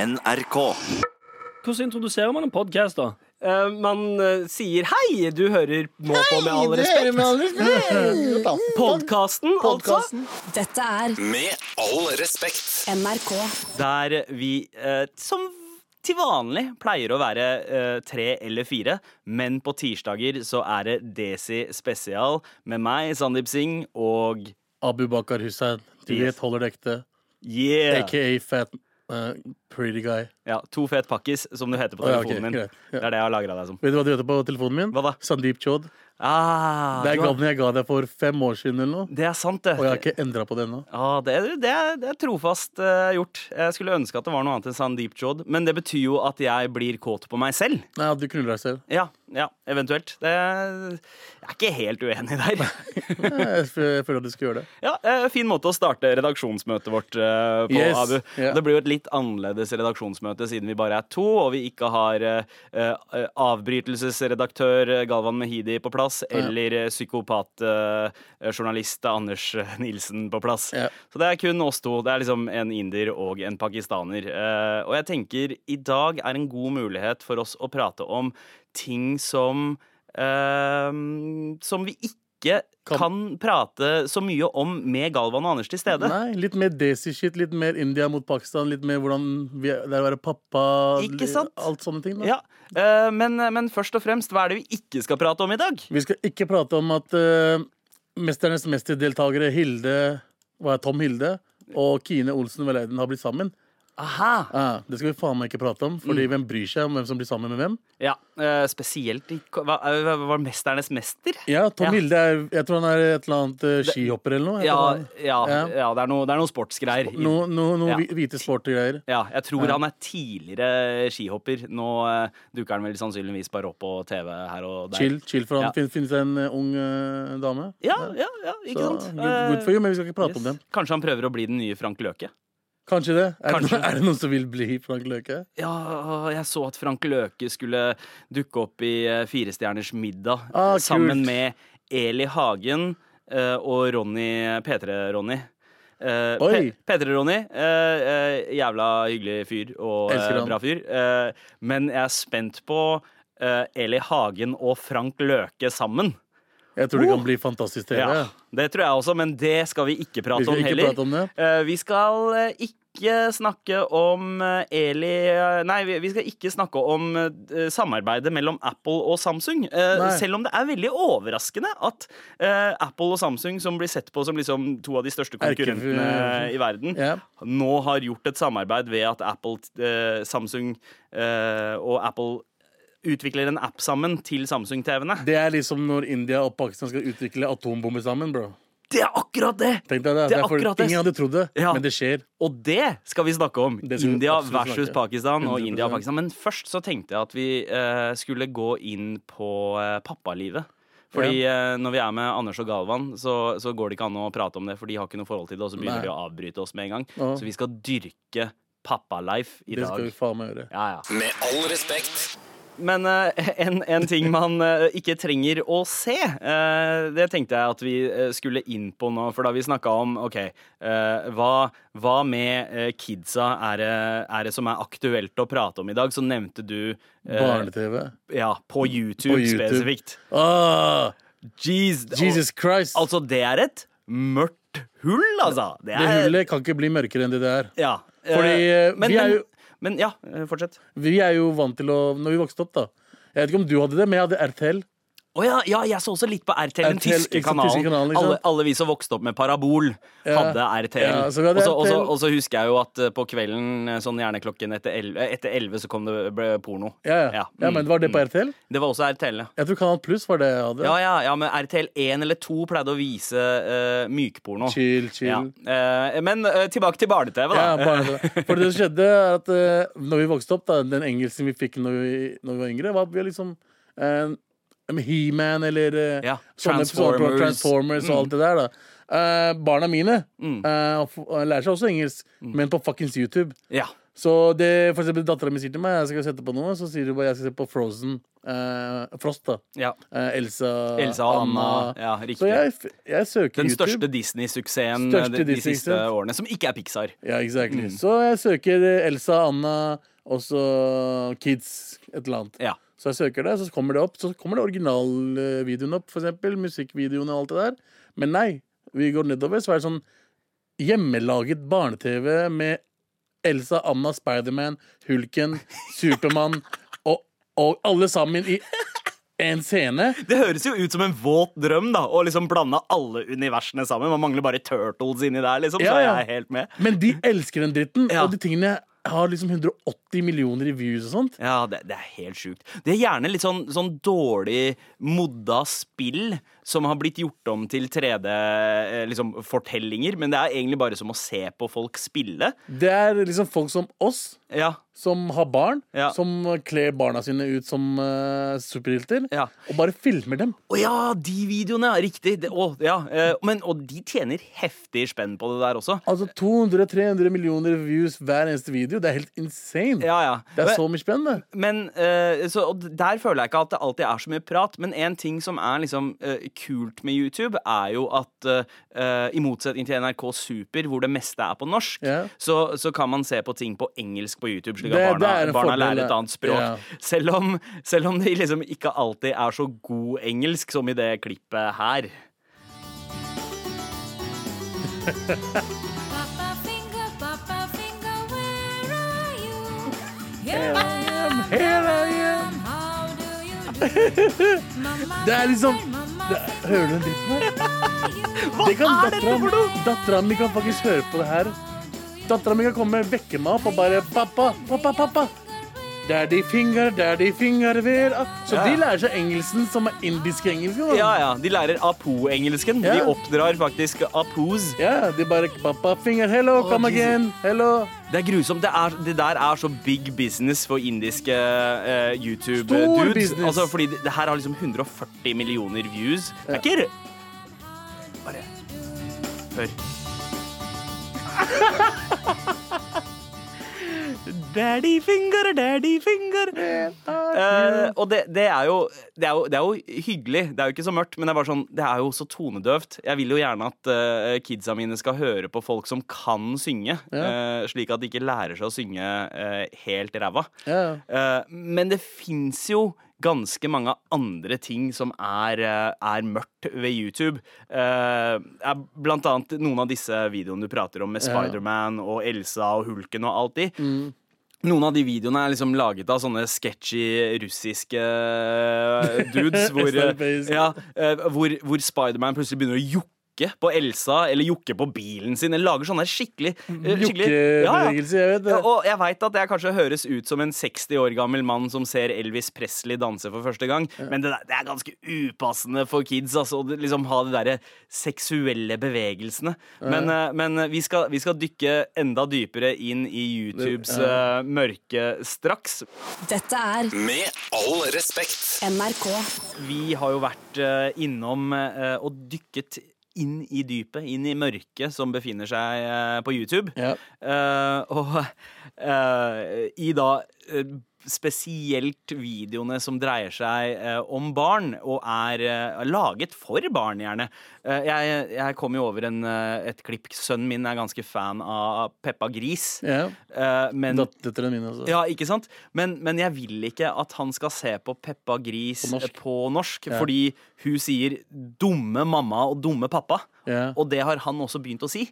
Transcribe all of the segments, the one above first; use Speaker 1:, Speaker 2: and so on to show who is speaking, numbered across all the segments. Speaker 1: NRK.
Speaker 2: Hvordan introduserer man en podkast, da?
Speaker 3: Eh, man eh, sier hei, du hører nå på med all respekt. Podkasten, altså.
Speaker 4: Dette er
Speaker 1: Med all respekt.
Speaker 4: NRK.
Speaker 3: Der vi eh, som til vanlig pleier å være eh, tre eller fire, men på tirsdager så er det Desi spesial med meg, Sandeep Singh, og
Speaker 5: Abu Bakar Hussein. Du
Speaker 3: Yes.
Speaker 5: vet, holder det ekte.
Speaker 3: yeah!
Speaker 5: AKA fat eh, pretty guy.
Speaker 3: Ja, to fet pakkis, som du heter på
Speaker 5: Å, ja, ok,
Speaker 3: telefonen min.
Speaker 5: greit, ja.
Speaker 3: Det er det jeg har lagra deg som.
Speaker 5: Vet du hva du heter på telefonen min?
Speaker 3: Hva da?
Speaker 5: Sandeep Chod.
Speaker 3: Ah,
Speaker 5: Det er
Speaker 3: du har-
Speaker 5: gaven jeg ga deg for fem år siden eller noe.
Speaker 3: det er sant, det.
Speaker 5: Og jeg har ikke endra på det ennå.
Speaker 3: Ja, det, er- det, er- det er trofast eh, gjort. Jeg skulle ønske at det var noe annet enn Sandeep Jod, men det betyr jo at jeg blir kåt på meg selv.
Speaker 5: Nei, at du knuller deg selv.
Speaker 3: Ja, ja, eventuelt. Det, jeg er ikke helt uenig der.
Speaker 5: Nei, Jeg f- jeg føler at du skal gjøre det.
Speaker 3: Ja, eh, Fin måte å starte redaksjonsmøtet vårt eh, på,
Speaker 5: Yes,
Speaker 3: Abu.
Speaker 5: ja.
Speaker 3: Det blir jo et litt annerledes redaksjonsmøte siden vi bare er to, og vi ikke har eh, eh, avbrytelsesredaktør eh, Galvan Mehidi på plass, eller eh, psykopatjournalist Anders Nilsen på plass.
Speaker 5: Ja.
Speaker 3: Så det er kun oss to. Det er liksom en inder og en pakistaner. Eh, og jeg tenker i dag er en god mulighet for oss å prate om ting som eh, Som vi ikke
Speaker 5: Kan-
Speaker 3: kan, prate så mye om med Galvan og Anders til stede.
Speaker 5: Nei, Litt mer Desi-shit, litt mer India mot Pakistan, litt mer hvordan vi er, det er å være pappa
Speaker 3: Ikke sant?
Speaker 5: Alt sånne ting. da
Speaker 3: Ja, eh, men, men først og fremst, hva er det vi ikke skal prate om i dag?
Speaker 5: Vi skal ikke prate om at eh, Mesternes mesterdeltakere Hilde hva er Tom Hilde og Kine Olsen Veleiden har blitt sammen.
Speaker 3: Aha!
Speaker 5: Ja, det skal vi faen meg ikke prate om,
Speaker 3: Mm.
Speaker 5: Fordi hvem bryr seg om hvem som blir sammen med hvem?
Speaker 3: Ja, eh, spesielt i Hva hva- hva var Mesternes mester?
Speaker 5: Ja, Tom
Speaker 3: Ja.
Speaker 5: Hilde er, jeg tror han er et eller annet eh, skihopper eller noe.
Speaker 3: Ja,
Speaker 5: Jeg tror
Speaker 3: ja,
Speaker 5: Ja.
Speaker 3: ja det er noe, det er noe sportsgreier.
Speaker 5: han- Noe no, no,
Speaker 3: Ja.
Speaker 5: hvite sporty-greier.
Speaker 3: Ja, jeg tror han er tidligere skihopper. Nå eh, dukker han vel sannsynligvis bare opp på TV her og der.
Speaker 5: Chill, chill, for han
Speaker 3: Ja.
Speaker 5: fin- finnes en eh, ung eh, dame.
Speaker 3: Ja, ja, ja ikke
Speaker 5: Så,
Speaker 3: sant?
Speaker 5: Good, good for you, men vi skal
Speaker 3: Eh,
Speaker 5: ikke prate
Speaker 3: yes.
Speaker 5: om dem.
Speaker 3: Kanskje han prøver å bli den nye Frank Løke?
Speaker 5: Kanskje det. Er,
Speaker 3: Kanskje.
Speaker 5: Det, er det noen som vil bli Frank Løke?
Speaker 3: Ja, jeg så at Frank Løke skulle dukke opp i eh, Firestjerners middag
Speaker 5: Ah,
Speaker 3: eh, sammen
Speaker 5: kult.
Speaker 3: med Eli Hagen eh, og Ronny P3-Ronny. Eh,
Speaker 5: Oi.
Speaker 3: P- P3-Ronny, eh, eh, jævla hyggelig fyr og eh,
Speaker 5: Elsker han.
Speaker 3: bra fyr. Eh, men jeg er spent på eh, Eli Hagen og Frank Løke sammen.
Speaker 5: Jeg tror det
Speaker 3: Oh.
Speaker 5: kan bli fantastisk TV.
Speaker 3: Ja, det tror jeg også, men det skal vi ikke prate
Speaker 5: Vi skal
Speaker 3: om
Speaker 5: ikke
Speaker 3: heller.
Speaker 5: prate om det.
Speaker 3: Eh, vi skal eh, ikke snakke om eh, Eli eh, Nei, vi vi skal ikke snakke om eh, samarbeidet mellom Apple og Samsung. eh,
Speaker 5: Nei.
Speaker 3: selv om det er veldig overraskende at eh, Apple og Samsung, som blir sett på som liksom to av de største konkurrentene
Speaker 5: Erke-
Speaker 3: i verden,
Speaker 5: Ja.
Speaker 3: nå har gjort et samarbeid ved at Apple, eh, Samsung eh, og Apple utvikler en app sammen til Samsung-TV-ene.
Speaker 5: Det er liksom når India og Pakistan skal utvikle atombomber sammen, bro.
Speaker 3: Det er akkurat det!
Speaker 5: Tenk deg det.
Speaker 3: Det
Speaker 5: det
Speaker 3: er
Speaker 5: er for,
Speaker 3: akkurat det.
Speaker 5: ingen hadde trodd det,
Speaker 3: Ja.
Speaker 5: men det skjer.
Speaker 3: Og det skal vi snakke om.
Speaker 5: Det skal vi
Speaker 3: India
Speaker 5: absolutt
Speaker 3: versus
Speaker 5: snakke.
Speaker 3: Pakistan og
Speaker 5: 100%.
Speaker 3: India og Pakistan. Men først så tenkte jeg at vi eh, skulle gå inn på eh, pappalivet. Fordi eh, når vi er med Anders og Galvan, så, så går det ikke an å prate om det, for de har ikke noe forhold til det, og så begynner
Speaker 5: Nei.
Speaker 3: de å avbryte oss med en gang.
Speaker 5: Ja.
Speaker 3: Så vi skal dyrke pappalife i
Speaker 5: Det skal
Speaker 3: dag.
Speaker 5: vi faen meg gjøre.
Speaker 3: Ja, ja.
Speaker 1: Med all respekt.
Speaker 3: Men eh, en, en ting man eh, ikke trenger å se, eh, det tenkte jeg at vi eh, skulle inn på nå. For da vi snakka om OK, eh, hva, hva med eh, kidsa er det, er det som er aktuelt å prate om i dag, så nevnte du eh,
Speaker 5: Barne-TV.
Speaker 3: Ja, på YouTube,
Speaker 5: På YouTube.
Speaker 3: spesifikt.
Speaker 5: Ah,
Speaker 3: Jeez,
Speaker 5: Jesus Christ!
Speaker 3: Al altså, det er et mørkt hull, altså. Det
Speaker 5: det
Speaker 3: er
Speaker 5: hullet kan ikke bli mørkere enn det det er.
Speaker 3: Ja. eh,
Speaker 5: Fordi, eh,
Speaker 3: men,
Speaker 5: vi er
Speaker 3: men,
Speaker 5: jo-
Speaker 3: men ja, eh, fortsett.
Speaker 5: Vi er jo vant til å Når vi vokste opp, da. Jeg vet ikke om du hadde det, men jeg hadde RTL.
Speaker 3: Å ja, ja, jeg så også litt på RTL, den
Speaker 5: RTL,
Speaker 3: tyske
Speaker 5: ikke sant,
Speaker 3: kanalen.
Speaker 5: tyske kanalen, ikke sant?
Speaker 3: alle, alle vi som vokste opp med parabol,
Speaker 5: Ja.
Speaker 3: hadde RTL.
Speaker 5: Ja, så vi hadde
Speaker 3: Og så- og så-
Speaker 5: RTL.
Speaker 3: Og så husker jeg jo at eh, på kvelden, eh, sånn gjerne klokken etter elleve, etter 11 så kom det ble porno.
Speaker 5: Ja, ja.
Speaker 3: Ja,
Speaker 5: ja,
Speaker 3: mm,
Speaker 5: men Var det på RTL?
Speaker 3: Det var også RTL, ja.
Speaker 5: Jeg tror Kanal Pluss var det jeg hadde.
Speaker 3: Ja, ja, ja, men RTL 1 eller 2 pleide å vise eh, mykporno.
Speaker 5: Chill, chill.
Speaker 3: Ja. Eh, men eh, tilbake til barne-TV, da.
Speaker 5: Ja, bare det. For det som skjedde, er at eh, når vi vokste opp, da, den engelsken vi fikk når vi, når vi var yngre, var vi liksom eh, um, He-Man eller eh,
Speaker 3: Ja,
Speaker 5: sånne episoder på
Speaker 3: Transformers. Mm.
Speaker 5: Transformers og alt det der. da
Speaker 3: Mm.
Speaker 5: Eh, Barna mine eh, f- lærer seg også engelsk, men på fuckings YouTube.
Speaker 3: Ja.
Speaker 5: Så det for eksempel dattera mi sier til meg jeg skal sette på noe, så sier hun bare jeg skal se på Frozen. Eh, Frost, da.
Speaker 3: Ja.
Speaker 5: Eh, Elsa,
Speaker 3: Elsa og Anna. Ja, riktig.
Speaker 5: så jeg, f- jeg søker
Speaker 3: Den
Speaker 5: YouTube.
Speaker 3: største Disney-suksessen
Speaker 5: Største
Speaker 3: de, de
Speaker 5: Disney,
Speaker 3: siste
Speaker 5: ikke sant?
Speaker 3: årene, som ikke er Pixar.
Speaker 5: Ja, exactly.
Speaker 3: Mm.
Speaker 5: Så jeg søker Elsa, Anna, og så Kids, et eller annet.
Speaker 3: Ja.
Speaker 5: Så jeg søker det, så kommer det opp. Så kommer det originalvideoen opp, for eksempel. Musikkvideoen og alt det der. Men nei, vi går nedover, så er det sånn hjemmelaget barne-TV med Elsa, Anna, Spiderman, Hulken, Supermann og, og alle sammen i én scene.
Speaker 3: Det høres jo ut som en våt drøm da å liksom blande alle universene sammen. Man mangler bare turtles inni der, liksom.
Speaker 5: Ja,
Speaker 3: Så er
Speaker 5: ja.
Speaker 3: jeg helt med.
Speaker 5: Men de elsker den dritten,
Speaker 3: Ja.
Speaker 5: og de tingene har liksom 180 millioner i views og sånt.
Speaker 3: Ja, det, det er helt sjukt. Det er gjerne litt sånn, sånn dårlig modda spill som har blitt gjort om til 3D-fortellinger, liksom, fortellinger, men det er egentlig bare som å se på folk spille.
Speaker 5: Det er liksom folk som oss
Speaker 3: Ja,
Speaker 5: som har barn,
Speaker 3: Ja.
Speaker 5: som kler barna sine ut som eh, superhelter,
Speaker 3: Ja.
Speaker 5: og bare filmer dem.
Speaker 3: Å ja, de videoene, ja, riktig. Det, å, ja. eh, Men, og de tjener heftig spenn på det der også.
Speaker 5: Altså 200-300 millioner views hver eneste video. Det er helt insane.
Speaker 3: Ja, ja.
Speaker 5: Det er
Speaker 3: Men-
Speaker 5: så mye spennende.
Speaker 3: Men, eh, så, og Der føler jeg ikke at det alltid er så mye prat, men en ting som er liksom eh, kult med YouTube, er jo at eh, i motsetning til NRK Super, hvor det meste er på norsk,
Speaker 5: Ja.
Speaker 3: så, så kan man se på ting på engelsk på YouTube, slik
Speaker 5: Det-
Speaker 3: at
Speaker 5: det er
Speaker 3: barna,
Speaker 5: en
Speaker 3: barna
Speaker 5: fordel,
Speaker 3: lærer
Speaker 5: det.
Speaker 3: et annet språk.
Speaker 5: Ja.
Speaker 3: Selv, om, selv om det liksom ikke alltid er så god engelsk som i det klippet her.
Speaker 4: Papa finger, Papa finger, where are you? Here I am,
Speaker 5: here I am.
Speaker 4: How do you do? Mamma
Speaker 5: Det er liksom-
Speaker 4: finger, mamma
Speaker 5: Det, hører du den dritten her?
Speaker 4: finger,
Speaker 5: Det kan
Speaker 3: er dette for noe?
Speaker 5: Dattera mi kan faktisk høre på det her. Dattera mi kan komme og vekke meg opp og bare Pappa, pappa, pappa. Daddy finger, daddy finger where are-" Så
Speaker 3: Ja.
Speaker 5: de lærer seg engelsken som er indisk engelsk. da.
Speaker 3: Ja, ja. De lærer apo-engelsken. De
Speaker 5: Ja.
Speaker 3: oppdrar faktisk apos.
Speaker 5: Ja, de bare Pappa finger, hello,
Speaker 3: Å,
Speaker 5: come
Speaker 3: Jesus.
Speaker 5: again. Hello.
Speaker 3: Det er grusomt. Det, er, det der er så big business for indiske eh,
Speaker 5: Stor
Speaker 3: YouTube-dudes.
Speaker 5: business.
Speaker 3: Altså, fordi det, det her har liksom 140 millioner views. Det er ikke r- Bare Hør. daddy finger, daddy finger. Eh, og det, det, er jo, det, er jo, det er jo hyggelig. Det er jo ikke så mørkt, men det er, bare sånn, det er jo så tonedøvt. Jeg vil jo gjerne at eh, kidsa mine skal høre på folk som kan synge, eh, slik at de ikke lærer seg å synge eh, helt ræva.
Speaker 5: Ja.
Speaker 3: Eh, men det fins jo ganske mange andre ting som er, eh, er mørkt ved YouTube. Eh, er blant annet noen av disse videoene du prater om med Spiderman og Elsa og Hulken og alt de.
Speaker 5: Mm.
Speaker 3: Noen av de videoene er liksom laget av sånne sketchy russiske eh, dudes. hvor,
Speaker 5: Østeuropeiske.
Speaker 3: ja, eh, hvor, hvor Spiderman plutselig begynner å jokke på Elsa, eller jokke på bilen sin. Eller lager sånne skikkelig, eh, skikkelig Ja, ja.
Speaker 5: Jokkebevegelse, jeg vet
Speaker 3: Ja,
Speaker 5: det.
Speaker 3: og jeg veit at jeg kanskje høres ut som en 60 år gammel mann som ser Elvis Presley danse for første gang, men det, der- det er ganske upassende for kids altså, å liksom ha de derre seksuelle bevegelsene. Men, eh, men vi, skal, vi skal dykke enda dypere inn i YouTubes eh, mørke straks.
Speaker 6: Dette er
Speaker 1: Med all respekt.
Speaker 6: NRK.
Speaker 3: Vi har jo vært eh, innom eh, og dykket inn i dypet, inn i mørket som befinner seg eh, på YouTube.
Speaker 5: Ja.
Speaker 3: Eh, og eh, i da eh, spesielt videoene som dreier seg eh, om barn, og er eh, laget for barn, gjerne. Eh, jeg, jeg kom jo over en, eh, et klipp. Sønnen min er ganske fan av Peppa Gris.
Speaker 5: Ja.
Speaker 3: Eh, men
Speaker 5: Datteren min også.
Speaker 3: ja, ikke sant? Men, men jeg vil ikke at han skal se på Peppa Gris
Speaker 5: På
Speaker 3: på
Speaker 5: norsk.
Speaker 3: norsk, fordi hun sier 'dumme mamma' og 'dumme pappa'.
Speaker 5: Ja.
Speaker 3: Og det har han også begynt å si.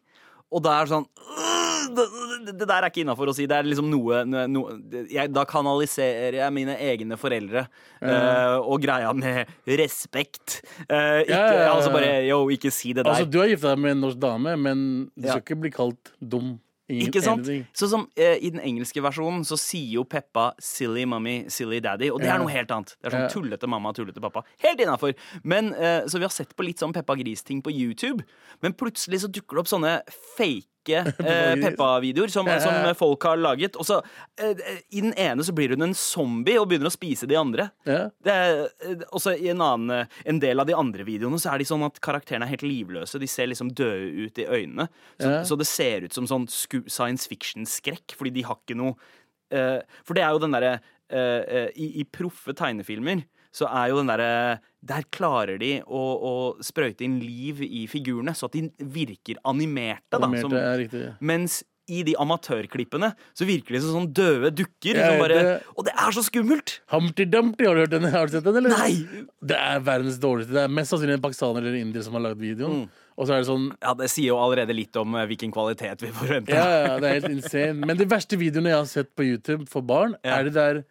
Speaker 3: Og da er det sånn «Åh, det, det- det der er ikke innafor å si. Det er liksom noe, noe, noe jeg, Da kanaliserer jeg mine egne foreldre eh, og greia med respekt. Eh, ikke,
Speaker 5: Ja, ja, ja, ja.
Speaker 3: Altså bare yo, ikke si det der.
Speaker 5: Altså, du har gifta deg med en norsk dame, men du
Speaker 3: Ja.
Speaker 5: skal ikke bli kalt dum. Ingen,
Speaker 3: Ikke sant?
Speaker 5: anything.
Speaker 3: Sånn som eh, I den engelske versjonen så sier jo Peppa 'silly mummy, silly daddy', og det
Speaker 5: Ja.
Speaker 3: er noe helt annet. Det er sånn
Speaker 5: Ja.
Speaker 3: tullete mamma, tullete pappa. Helt innafor. Eh, så vi har sett på litt sånn Peppa Gris-ting på YouTube, men plutselig så dukker det opp sånne fake like eh, Peppa-videoer som, som eh, folk har laget. Og så eh, I den ene så blir hun en zombie og begynner å spise de andre.
Speaker 5: Ja.
Speaker 3: Det er, eh, også i en, annen, eh, en del av de andre videoene Så er de sånn at karakterene er helt livløse. De ser liksom døde ut i øynene. Så,
Speaker 5: Ja.
Speaker 3: så det ser ut som sånn sku- science fiction-skrekk, fordi de har ikke noe eh, For det er jo den derre eh, eh, i, I proffe tegnefilmer så er jo den derre Der klarer de å, å sprøyte inn liv i figurene, så at de virker animerte. da
Speaker 5: Animerte
Speaker 3: som,
Speaker 5: er riktig.
Speaker 3: mens i de amatørklippene så virker de som sånn døde dukker.
Speaker 5: Ja,
Speaker 3: som bare,
Speaker 5: det-
Speaker 3: Og det er så skummelt!
Speaker 5: Humpty Dumpty, har du hørt den? Har du sett den, eller?
Speaker 3: Nei!
Speaker 5: Det er verdens dårligste. Det er mest sannsynlig en pakistaner eller indier som har lagd
Speaker 3: Mm.
Speaker 5: videoen. Og så er det sånn
Speaker 3: Ja, Det sier jo allerede litt om eh, hvilken kvalitet vi forventer.
Speaker 5: Ja, ja, det er helt insane. Men de verste videoene jeg har sett på YouTube for barn,
Speaker 3: Ja.
Speaker 5: er det der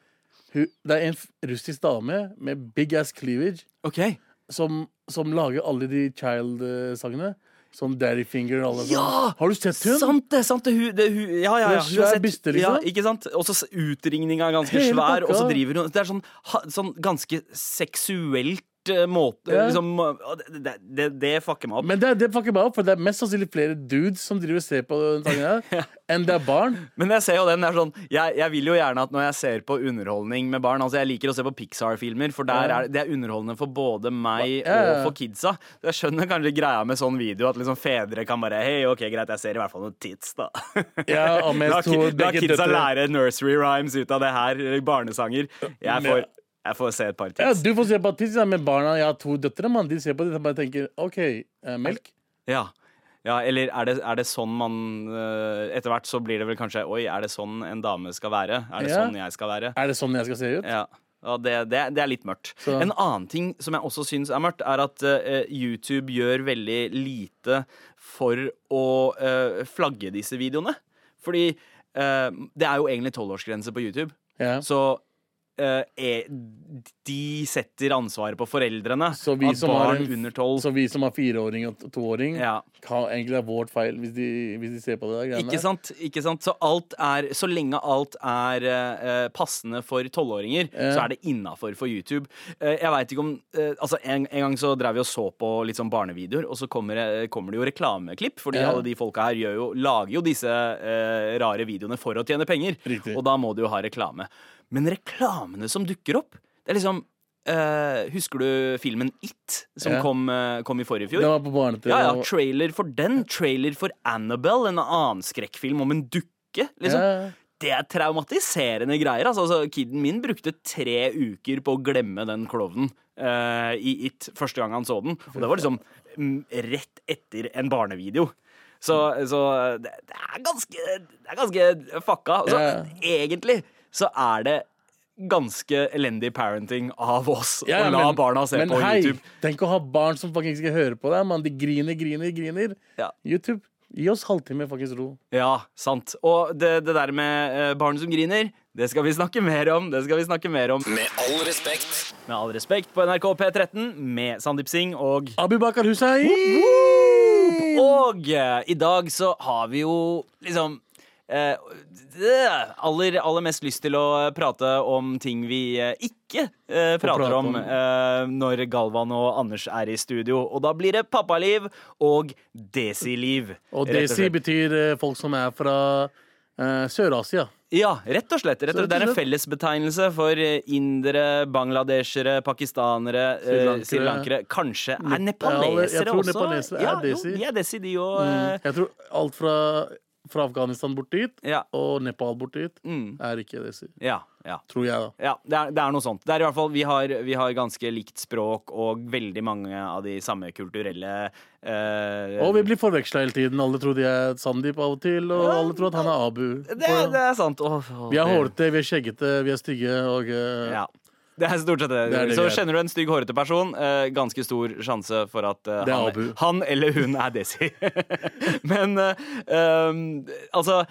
Speaker 5: hu- Det er en f- russisk dame med big ass cleavage
Speaker 3: Ok
Speaker 5: som, som lager alle de child-sangene. Sånn Daddy Finger og alle
Speaker 3: Ja!
Speaker 5: sånn. Har du sett hun?
Speaker 3: Sant det! sant det, hun, det, hun Ja, ja,
Speaker 5: Hun
Speaker 3: ja. hun har
Speaker 5: har svær
Speaker 3: sett-
Speaker 5: byste, liksom.
Speaker 3: Ja, ikke sant? Og så s- utringninga er ganske
Speaker 5: Hele
Speaker 3: svær, og så
Speaker 5: pakka.
Speaker 3: driver hun Det er sånn, ha, sånn ganske seksuelt eh, måte
Speaker 5: Ja.
Speaker 3: liksom, eh, det, det, det, det fucker meg opp.
Speaker 5: Men det, det fucker meg opp, for det er mest sannsynlig flere dudes som driver og ser på den sangen her, enn det er barn.
Speaker 3: Men jeg ser jo den der sånn jeg, jeg vil jo gjerne at når jeg ser på underholdning med barn Altså jeg liker å se på Pixar-filmer, for der
Speaker 5: Ja.
Speaker 3: er, det er underholdende for både meg
Speaker 5: Ja, ja, ja.
Speaker 3: og for kidsa. Så jeg skjønner kanskje greia med sånn video, at liksom fedre kan bare Hei, ok, greit, jeg ser i hvert fall noen tits, da.
Speaker 5: Ja, og med
Speaker 3: la,
Speaker 5: to-
Speaker 3: ki- la
Speaker 5: begge
Speaker 3: kidsa
Speaker 5: døtre.
Speaker 3: lære nursery rhymes ut av det her, eller barnesanger. Jeg får, jeg får se et par
Speaker 5: Ja,
Speaker 3: tits.
Speaker 5: du får se på tits, ja, men barna Jeg har to døtre, mann. De ser på det og bare tenker OK, eh, melk?
Speaker 3: Ja. Ja, eller er det, er det sånn man eh, Etter hvert så blir det vel kanskje Oi, er det sånn en dame skal være? Er det
Speaker 5: Ja.
Speaker 3: sånn jeg skal være?
Speaker 5: Er det sånn jeg skal se ut?
Speaker 3: Ja, ja det, det, det er litt mørkt.
Speaker 5: Så-
Speaker 3: En annen ting som jeg også syns er mørkt, er at eh, YouTube gjør veldig lite for å eh, flagge disse videoene. Fordi eh, det er jo egentlig tolvårsgrense på YouTube.
Speaker 5: Ja.
Speaker 3: Så eh, er, de setter ansvaret på foreldrene.
Speaker 5: Så vi
Speaker 3: at
Speaker 5: som har
Speaker 3: barn
Speaker 5: en-
Speaker 3: under tolv
Speaker 5: Så vi som har fireåring og to- toåring,
Speaker 3: Ja.
Speaker 5: kan egentlig er vårt feil hvis de, hvis de ser på det der greiene
Speaker 3: Ikke
Speaker 5: der.
Speaker 3: sant? ikke sant? Så, alt er, så lenge alt er eh, eh, passende for tolvåringer,
Speaker 5: Ja.
Speaker 3: så er det innafor for YouTube. Eh, jeg vet ikke om eh, altså en, en gang så drev vi og så på litt sånn barnevideoer, og så kommer, det- kommer det jo reklameklipp. Fordi
Speaker 5: Ja.
Speaker 3: alle de folka her gjør jo, lager jo disse eh, rare videoene for å tjene penger.
Speaker 5: Riktig.
Speaker 3: Og da må du jo ha reklame. Men reklamene som dukker opp, det er liksom eh, Husker du filmen It, som
Speaker 5: Ja.
Speaker 3: kom, eh, kom i forrige fjor?
Speaker 5: Det var på barne-TV.
Speaker 3: Ja, ja,
Speaker 5: og-
Speaker 3: trailer for den, trailer for Annabelle, en annen skrekkfilm om en dukke. Liksom.
Speaker 5: Ja.
Speaker 3: Det er traumatiserende greier. Altså, altså, Kiden min brukte tre uker på å glemme den klovnen eh, i It første gang han så den. Og det var liksom mm, rett etter en barnevideo. Så, så det, det, er ganske, det er ganske fucka. Så
Speaker 5: Ja.
Speaker 3: egentlig så er det ganske elendig parenting av oss
Speaker 5: Ja, ja,
Speaker 3: å la barna se
Speaker 5: men
Speaker 3: på
Speaker 5: hei,
Speaker 3: YouTube.
Speaker 5: Tenk å ha barn som faktisk ikke hører på deg, mann. De griner, griner, griner.
Speaker 3: Ja.
Speaker 5: YouTube, gi oss halvtime faktisk ro.
Speaker 3: Ja, sant. Og det, det der med eh, barn som griner, det skal vi snakke mer om. Det skal vi snakke mer om
Speaker 1: Med all respekt.
Speaker 3: Med all respekt på NRK P13 med Sandeep Singh og
Speaker 5: Abubakar Hussein!
Speaker 3: Og eh, i dag så har vi jo liksom eh, det aller, aller mest lyst til å prate om ting vi eh, ikke eh, prater
Speaker 5: prate
Speaker 3: om
Speaker 5: om.
Speaker 3: eh, når Galvan og Anders er i studio. Og da blir det pappaliv og desiliv.
Speaker 5: Og
Speaker 3: rett
Speaker 5: Desi
Speaker 3: slett.
Speaker 5: betyr eh, folk som er fra eh, Sør-Asia.
Speaker 3: Ja, rett og slett. Rett og slett. Det er en
Speaker 5: slett.
Speaker 3: fellesbetegnelse for eh, indere, bangladesere, pakistanere, eh,
Speaker 5: Sri
Speaker 3: srilankere Kanskje er nepalesere
Speaker 5: Nepalere.
Speaker 3: også?
Speaker 5: Jeg tror nepalesere er Mm.
Speaker 3: ja,
Speaker 5: desi.
Speaker 3: Jo, de er desi, de òg.
Speaker 5: Jeg tror alt fra, fra Afghanistan bort dit
Speaker 3: eh, Ja. Mm.
Speaker 5: og Nepal bort dit er ikke Desi.
Speaker 3: Ja, ja.
Speaker 5: Tror jeg, da.
Speaker 3: Ja, det er, det er noe sånt. Det er i hvert fall, vi har, vi har ganske likt språk og veldig mange av de samme kulturelle eh,
Speaker 5: Og vi blir forveksla hele tiden. Alle tror de er Sandeep av og til, og alle tror at han er Abu.
Speaker 3: det, er- det er sant. Åh, åh,
Speaker 5: Vi er
Speaker 3: det-
Speaker 5: hårete, vi er skjeggete, vi er stygge og eh,
Speaker 3: Ja. Det er stort sett det.
Speaker 5: Det er det
Speaker 3: så
Speaker 5: vi er.
Speaker 3: kjenner du en stygg, hårete person, eh, ganske stor sjanse for at eh,
Speaker 5: Det er
Speaker 3: han,
Speaker 5: Abu.
Speaker 3: han eller hun er Desi. Men eh, um, altså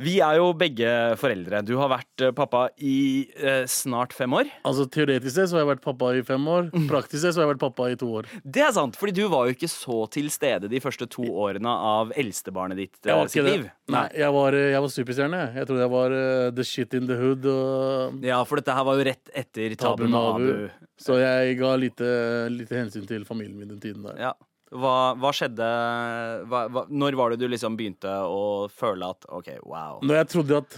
Speaker 3: vi er jo begge foreldre. Du har vært eh, pappa i eh, snart fem år.
Speaker 5: Altså Teoretisk sett så har jeg vært pappa i fem år.
Speaker 3: Mm.
Speaker 5: Praktisk sett så har jeg vært pappa i to år.
Speaker 3: Det er sant, fordi du var jo ikke så til stede de første to årene av eldstebarnet ditt eh,
Speaker 5: Jeg var ikke
Speaker 3: sitt
Speaker 5: det.
Speaker 3: liv.
Speaker 5: Nei, jeg var, eh, jeg var superstjerne. jeg. Jeg trodde jeg var eh, the shit in the hood og
Speaker 3: Ja, for dette her var jo rett etter Tabu Nabu.
Speaker 5: Så jeg ga lite, lite hensyn til familien min den tiden der.
Speaker 3: Ja. Hva, hva skjedde hva, hva, Når var det du liksom begynte å føle at OK, wow.
Speaker 5: Når jeg trodde at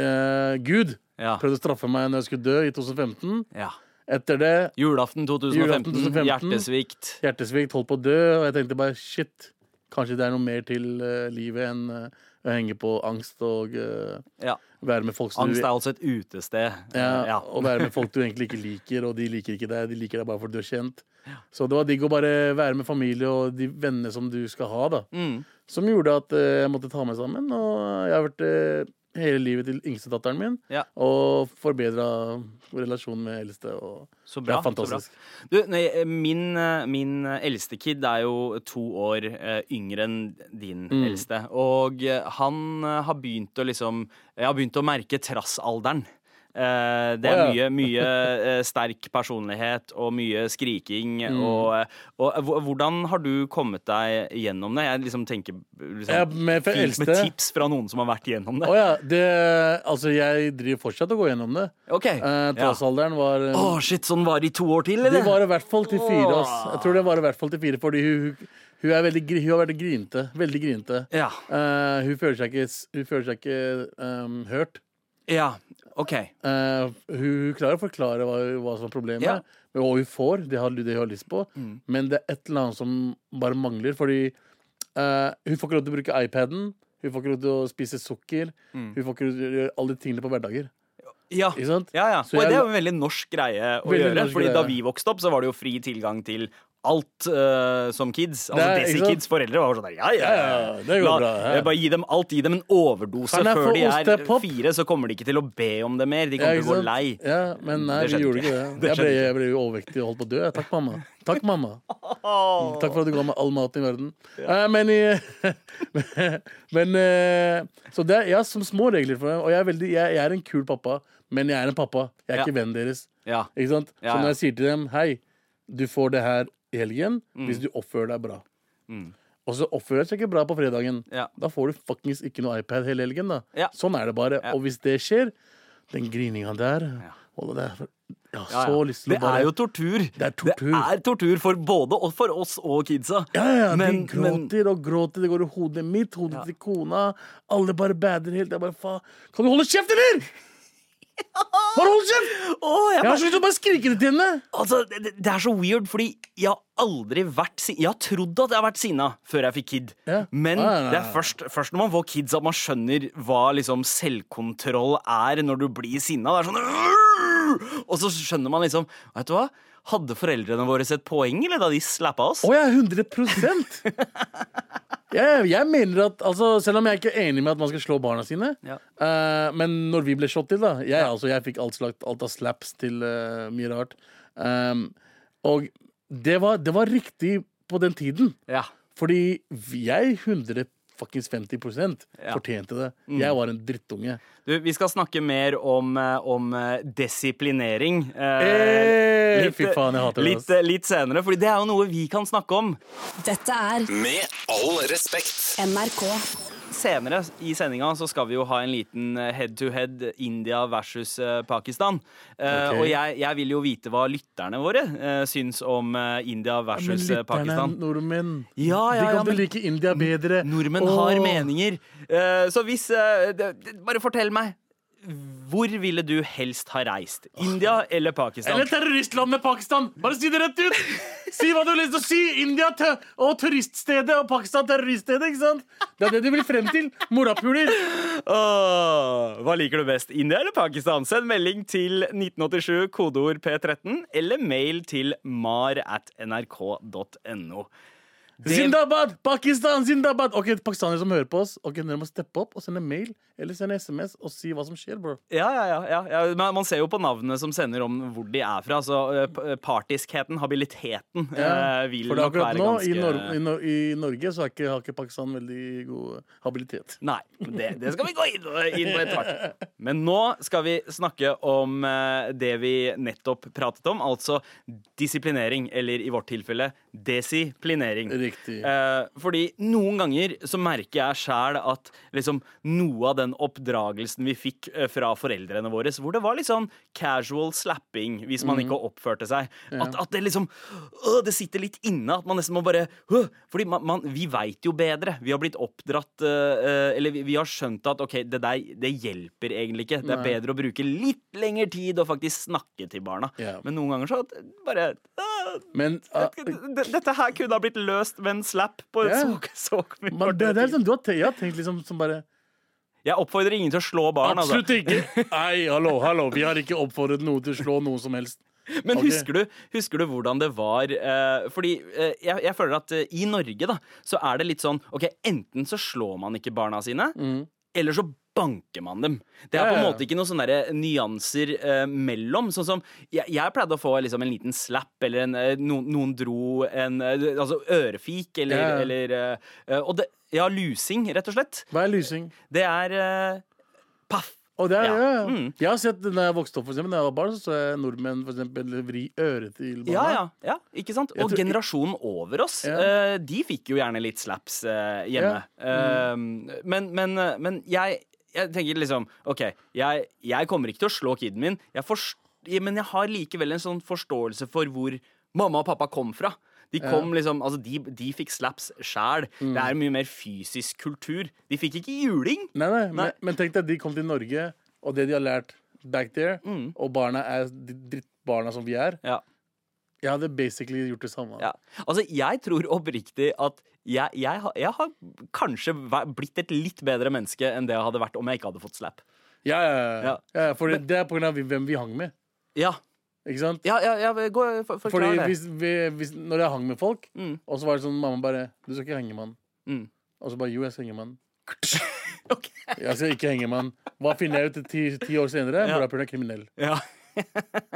Speaker 5: eh, Gud
Speaker 3: Ja.
Speaker 5: prøvde å straffe meg når jeg skulle dø i 2015
Speaker 3: ja.
Speaker 5: Etter det
Speaker 3: Julaften 2015,
Speaker 5: Julaften 2015.
Speaker 3: hjertesvikt.
Speaker 5: hjertesvikt, holdt på å dø, og jeg tenkte bare shit, kanskje det er noe mer til eh, livet enn eh, å henge på angst og eh,
Speaker 3: Ja.
Speaker 5: være med folk som
Speaker 3: Angst
Speaker 5: du
Speaker 3: er altså et utested. Eh,
Speaker 5: ja,
Speaker 3: ja.
Speaker 5: Å være med folk du egentlig ikke liker, og de liker ikke deg. De liker deg bare fordi du er kjent. Så det var digg å bare være med familie og de vennene som du skal ha, da.
Speaker 3: Mm.
Speaker 5: Som gjorde at eh, jeg måtte ta meg sammen. Og jeg har vært eh, hele livet til yngstedatteren min,
Speaker 3: Ja.
Speaker 5: og forbedra relasjonen med eldste. Og
Speaker 3: Så
Speaker 5: det
Speaker 3: bra.
Speaker 5: er fantastisk.
Speaker 3: Så bra. Du, nei, eh, min, eh, min eh, eldste kid er jo to år eh, yngre enn din
Speaker 5: Mm.
Speaker 3: eldste. Og eh, han eh, har begynt å liksom Jeg har begynt å merke trassalderen. Eh, det er
Speaker 5: Å, ja.
Speaker 3: mye, mye eh, sterk personlighet og mye skriking.
Speaker 5: Mm.
Speaker 3: Og, eh, og hvo- hvordan har du kommet deg gjennom det? Jeg liksom tenker liksom,
Speaker 5: Ja, med- for
Speaker 3: fint med
Speaker 5: eldste-
Speaker 3: tips fra noen som har vært gjennom
Speaker 5: Å
Speaker 3: det.
Speaker 5: ja. Det, altså, jeg driver fortsatt og går gjennom det.
Speaker 3: Ok.
Speaker 5: Eh,
Speaker 3: ja.
Speaker 5: Trassalderen var eh,
Speaker 3: Å, shit, sånn var det i to år til,
Speaker 5: De
Speaker 3: eller?
Speaker 5: var i hvert fall til fire. Ass. Jeg tror det var i hvert fall til fire, fordi hun, hun, hun, er veldig, gri- hun har vært grinte. Veldig grinte.
Speaker 3: Ja.
Speaker 5: Eh, hun føler seg ikke, s- hun føler seg ikke ehm, hørt.
Speaker 3: Ja, ok.
Speaker 5: Eh, hun, hun klarer å forklare hva, hva som er problemet,
Speaker 3: Ja. Mm.
Speaker 5: og hun får det hun, det hun har lyst på, men det er et eller annet som bare mangler. Fordi eh, hun får ikke lov til å bruke iPaden, hun får ikke lov til å spise sukker,
Speaker 3: Mm.
Speaker 5: hun får ikke lov til å gjøre alle de tingene på hverdager.
Speaker 3: Ja.
Speaker 5: Ikke sant?
Speaker 3: Ja, ja.
Speaker 5: Så
Speaker 3: Og
Speaker 5: jeg-
Speaker 3: det er jo en veldig norsk greie å
Speaker 5: Veldig
Speaker 3: gjøre.
Speaker 5: norsk
Speaker 3: Fordi
Speaker 5: greie.
Speaker 3: da vi vokste opp, så var det jo fri tilgang til alt eh, som kids. Altså
Speaker 5: Det er-
Speaker 3: Desi
Speaker 5: ikke sant?
Speaker 3: Kids foreldre var jo sånn der, ja, ja,
Speaker 5: Ja, ja, det går
Speaker 3: La-
Speaker 5: bra, ja.
Speaker 3: eh, Bare gi dem alt. Gi dem en overdose
Speaker 5: Kan jeg
Speaker 3: før
Speaker 5: få
Speaker 3: de er
Speaker 5: ostepop?
Speaker 3: fire, så kommer de ikke til å be om det mer. De kommer til
Speaker 5: Ja,
Speaker 3: å
Speaker 5: ikke
Speaker 3: gå
Speaker 5: sant?
Speaker 3: lei.
Speaker 5: Ja, men nei,
Speaker 3: Det
Speaker 5: vi
Speaker 3: skjedde
Speaker 5: gjorde
Speaker 3: ikke.
Speaker 5: ikke det.
Speaker 3: Det
Speaker 5: Jeg ble,
Speaker 3: skjedde ikke.
Speaker 5: jeg ble jo overvektig og holdt på å dø. Takk, mamma. Takk, mamma. Takk for at du ga meg all maten i verden. Eh, men i, men eh, Så det er jeg har som små regler for det. Og jeg er, veldig, jeg, jeg er en kul pappa, men jeg er en pappa. Jeg er
Speaker 3: Ja.
Speaker 5: ikke vennen deres.
Speaker 3: Ja.
Speaker 5: Ikke sant?
Speaker 3: Ja,
Speaker 5: Så
Speaker 3: ja.
Speaker 5: når jeg sier til dem Hei, du får det her i helgen
Speaker 3: Mm.
Speaker 5: hvis du oppfører deg bra. Og så oppfører jeg seg ikke bra på fredagen.
Speaker 3: Ja.
Speaker 5: Da får du fuckings ikke noe iPad hele helgen. da
Speaker 3: Ja.
Speaker 5: Sånn er det bare.
Speaker 3: Ja.
Speaker 5: Og hvis det skjer, den grininga der Og det der Jeg
Speaker 3: Ja, ja.
Speaker 5: har så lyst til
Speaker 3: Det
Speaker 5: å bare
Speaker 3: er jo tortur.
Speaker 5: Det er tortur.
Speaker 3: Det er tortur for både og- for oss og kidsa.
Speaker 5: ja, ja,
Speaker 3: men,
Speaker 5: de gråter og gråter. Det går i hodet mitt, hodet til kona. Alle bare bader helt. Jeg bare faen Kan du holde kjeft, eller?! Bare hold kjeft!
Speaker 3: men, Å, jeg
Speaker 5: Jeg har så lyst til å bare skrike det til henne!
Speaker 3: Altså, det, det- det er så weird, fordi jeg har aldri vært sinna. Jeg har trodd at jeg har vært sinna før jeg fikk kid.
Speaker 5: Ja.
Speaker 3: Men
Speaker 5: Nei, nei, nei.
Speaker 3: det er først, først når man får kids at man skjønner hva liksom selvkontroll er når du blir sinna. Det er sånn Og så skjønner man liksom Vet du hva? Hadde foreldrene våre sett poeng, eller da de slappa oss?
Speaker 5: Å ja, 100 jeg, jeg mener at, altså, Selv om jeg er ikke er enig med at man skal slå barna sine
Speaker 3: Ja.
Speaker 5: eh, Men når vi ble slått til, da Jeg, altså, jeg fikk alt, slagt, alt av slaps til eh, mye rart. Ehm, og det var, det var riktig på den tiden.
Speaker 3: Ja.
Speaker 5: Fordi jeg 150 fortjente det.
Speaker 3: Mm.
Speaker 5: Jeg var en drittunge.
Speaker 3: Du, vi skal snakke mer om, eh, om eh, desiplinering.
Speaker 5: Eh, fy faen, jeg hater det, ass.
Speaker 3: litt, eh, litt senere, fordi det er jo noe vi kan snakke om.
Speaker 6: Dette er
Speaker 1: Med all respekt.
Speaker 6: NRK.
Speaker 3: Senere i sendinga så skal vi jo ha en liten eh, head-to-head India versus eh, Pakistan. Eh,
Speaker 5: Ok.
Speaker 3: Og jeg, jeg vil jo vite hva lytterne våre eh, syns om eh, India
Speaker 5: Men
Speaker 3: versus eh,
Speaker 5: lytterne er
Speaker 3: Pakistan.
Speaker 5: nordmenn.
Speaker 3: Ja, ja,
Speaker 5: De
Speaker 3: ja,
Speaker 5: kan
Speaker 3: men
Speaker 5: til like India bedre.
Speaker 3: nordmenn
Speaker 5: Åh.
Speaker 3: har meninger. Eh, så hvis eh, det- det- Bare fortell meg. Hvor ville du helst ha reist? India eller Pakistan?
Speaker 5: Eller terroristlandet Pakistan! Bare si det rett ut! Si hva du har lyst til å si! India tø og turiststedet og Pakistan terroriststedet, ikke sant? Det er det du vil frem til. Morapuler.
Speaker 3: Åh, hva liker du best, India eller Pakistan? Send melding til 1987, kodeord P13, eller mail til mar at nrk.no. Det,
Speaker 5: Zindabad! Pakistan! Zindabad! Ok, Pakistanere som hører på oss, Ok, dere må steppe opp og sende mail eller sende SMS og si hva som skjer, bro.
Speaker 3: ja, ja, ja, ja, ja. men Man ser jo på navnene som sender om hvor de er fra. Så eh, p- eh, partiskheten, habiliteten, eh, vil
Speaker 5: For det er
Speaker 3: nok
Speaker 5: akkurat
Speaker 3: være
Speaker 5: nå, i, Nor i,
Speaker 3: ganske
Speaker 5: Nor i Norge, så er ikke, har ikke Pakistan veldig god habilitet.
Speaker 3: Nei, det, det skal vi gå inn, inn på etter hvert. Men nå skal vi snakke om eh, det vi nettopp pratet om, altså disiplinering, eller i vårt tilfelle desiplinering.
Speaker 5: Riktig.
Speaker 3: Eh, fordi noen ganger så merker jeg sjæl at liksom noe av den oppdragelsen vi fikk eh, fra foreldrene våre, hvor det var litt sånn casual slapping hvis
Speaker 5: Mm.
Speaker 3: man ikke oppførte seg, at, at det liksom øh, Det sitter litt inne. At man nesten må bare øh, Fordi man, man, vi veit jo bedre. Vi har blitt oppdratt eh, eh, Eller vi, vi har skjønt at OK, det der det hjelper egentlig ikke. Det er
Speaker 5: Nei.
Speaker 3: bedre å bruke litt lengre tid og faktisk snakke til barna.
Speaker 5: Ja.
Speaker 3: Men noen ganger så at- bare øh,
Speaker 5: Men ah,
Speaker 3: D- Dette her kunne ha blitt løst med en slap på
Speaker 5: Ja.
Speaker 3: så, så mye
Speaker 5: man, det, det
Speaker 3: kortere
Speaker 5: er liksom, du har, te- jeg har tenkt liksom som bare
Speaker 3: tid. Jeg oppfordrer ingen til å slå barn, altså.
Speaker 5: Absolutt ikke! Nei, hallo, hallo. Vi har ikke oppfordret noen til å slå noe som helst.
Speaker 3: Men
Speaker 5: Ok.
Speaker 3: husker, du, husker du hvordan det var eh, Fordi eh, jeg, jeg føler at eh, i Norge da så er det litt sånn Ok, enten så slår man ikke barna sine, eller så banker man dem. Det er på
Speaker 5: Mm. Ja,
Speaker 3: en
Speaker 5: ja, ja.
Speaker 3: måte ikke noen sånne der nyanser eh, mellom. Sånn som jeg, jeg pleide å få liksom en liten slap eller en, eh, noen, noen dro en eh, Altså ørefik eller,
Speaker 5: Ja, ja.
Speaker 3: eller eh, eh, Og det Ja, lusing, rett og slett.
Speaker 5: Hva er lysing?
Speaker 3: Det er eh, paff.
Speaker 5: Og det er,
Speaker 3: Ja.
Speaker 5: ja. ja.
Speaker 3: Mm.
Speaker 5: Jeg har sett når jeg vokste opp, for eksempel, når jeg var barn, så så jeg nordmenn for eksempel, vri øret til barna.
Speaker 3: Ja, ja, ja, ikke sant?
Speaker 5: Jeg
Speaker 3: Og
Speaker 5: tror-
Speaker 3: generasjonen over oss,
Speaker 5: Ja.
Speaker 3: eh, de fikk jo gjerne litt slaps eh, hjemme.
Speaker 5: Mm.
Speaker 3: Eh, men, men, eh, men jeg, jeg tenker liksom OK, jeg, jeg kommer ikke til å slå kiden min, jeg forst- ja, men jeg har likevel en sånn forståelse for hvor mamma og pappa kom fra. De kom liksom, altså de, de fikk slaps sjæl.
Speaker 5: Mm.
Speaker 3: Det er mye mer fysisk kultur. De fikk ikke juling.
Speaker 5: Nei, nei,
Speaker 3: Nei.
Speaker 5: Men, men tenk deg, de kom til Norge, og det de har lært back there, og barna er de drittbarna som vi er.
Speaker 3: Mm. Ja.
Speaker 5: Jeg hadde basically gjort det samme.
Speaker 3: Ja. Altså, jeg tror oppriktig at jeg, jeg, har- jeg har kanskje væ- blitt et litt bedre menneske enn det jeg hadde vært om jeg ikke hadde fått slap.
Speaker 5: Ja, ja, ja.
Speaker 3: Ja.
Speaker 5: ja. for det, det er på grunn av hvem vi hang med.
Speaker 3: Ja,
Speaker 5: Ikke sant?
Speaker 3: ja, ja, ja gå, for,
Speaker 5: Fordi
Speaker 3: forklar det.
Speaker 5: hvis, vi, hvis, når jeg hang med folk,
Speaker 3: Mm.
Speaker 5: og så var det sånn mamma bare Du skal ikke henge med han.
Speaker 3: Mm.
Speaker 5: Og så bare Jo, jeg skal henge med han.
Speaker 3: Ok.
Speaker 5: Jeg skal ikke henge med han. Hva finner jeg ut ti, ti år senere?
Speaker 3: Ja.
Speaker 5: Morapulen er kriminell.
Speaker 3: Ja.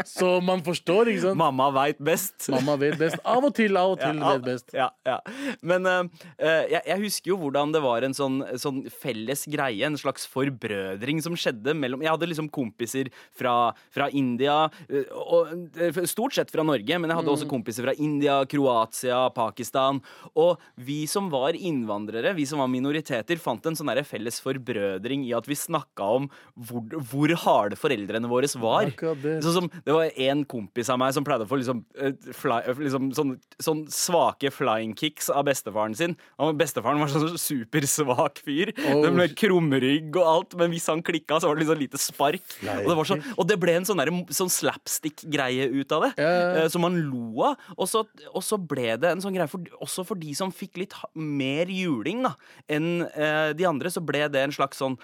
Speaker 5: Så man forstår, ikke sant?
Speaker 3: Mamma veit best.
Speaker 5: Mamma vet best. Av og til, av og til
Speaker 3: Ja,
Speaker 5: vet best.
Speaker 3: Ja, ja. Men eh, eh, jeg, jeg husker jo hvordan det var en sånn, sånn felles greie, en slags forbrødring som skjedde mellom Jeg hadde liksom kompiser fra, fra India, eh, og, eh, stort sett fra Norge, men jeg hadde
Speaker 5: Mm.
Speaker 3: også kompiser fra India, Kroatia, Pakistan. Og vi som var innvandrere, vi som var minoriteter, fant en sånn derre felles forbrødring i at vi snakka om hvor, hvor harde foreldrene våre var.
Speaker 5: Akkurat det.
Speaker 3: Sånn som, det var en kompis av meg som pleide å få liksom, eh, fly, eh, liksom sånn, sånn svake flying kicks av bestefaren sin. Og bestefaren var sånn supersvak fyr.
Speaker 5: Oh,
Speaker 3: Den ble
Speaker 5: shit.
Speaker 3: krumrygg og alt, men hvis han klikka, så var det liksom lite spark. Og det, var sånn, og det ble en sånn, derre- sånn slapstick-greie ut av det,
Speaker 5: Ja, ja.
Speaker 3: eh, som man lo av. Og så, og så ble det en sånn greie for, også for de som fikk litt ha- mer juling da, enn eh, de andre, så ble det en slags sånn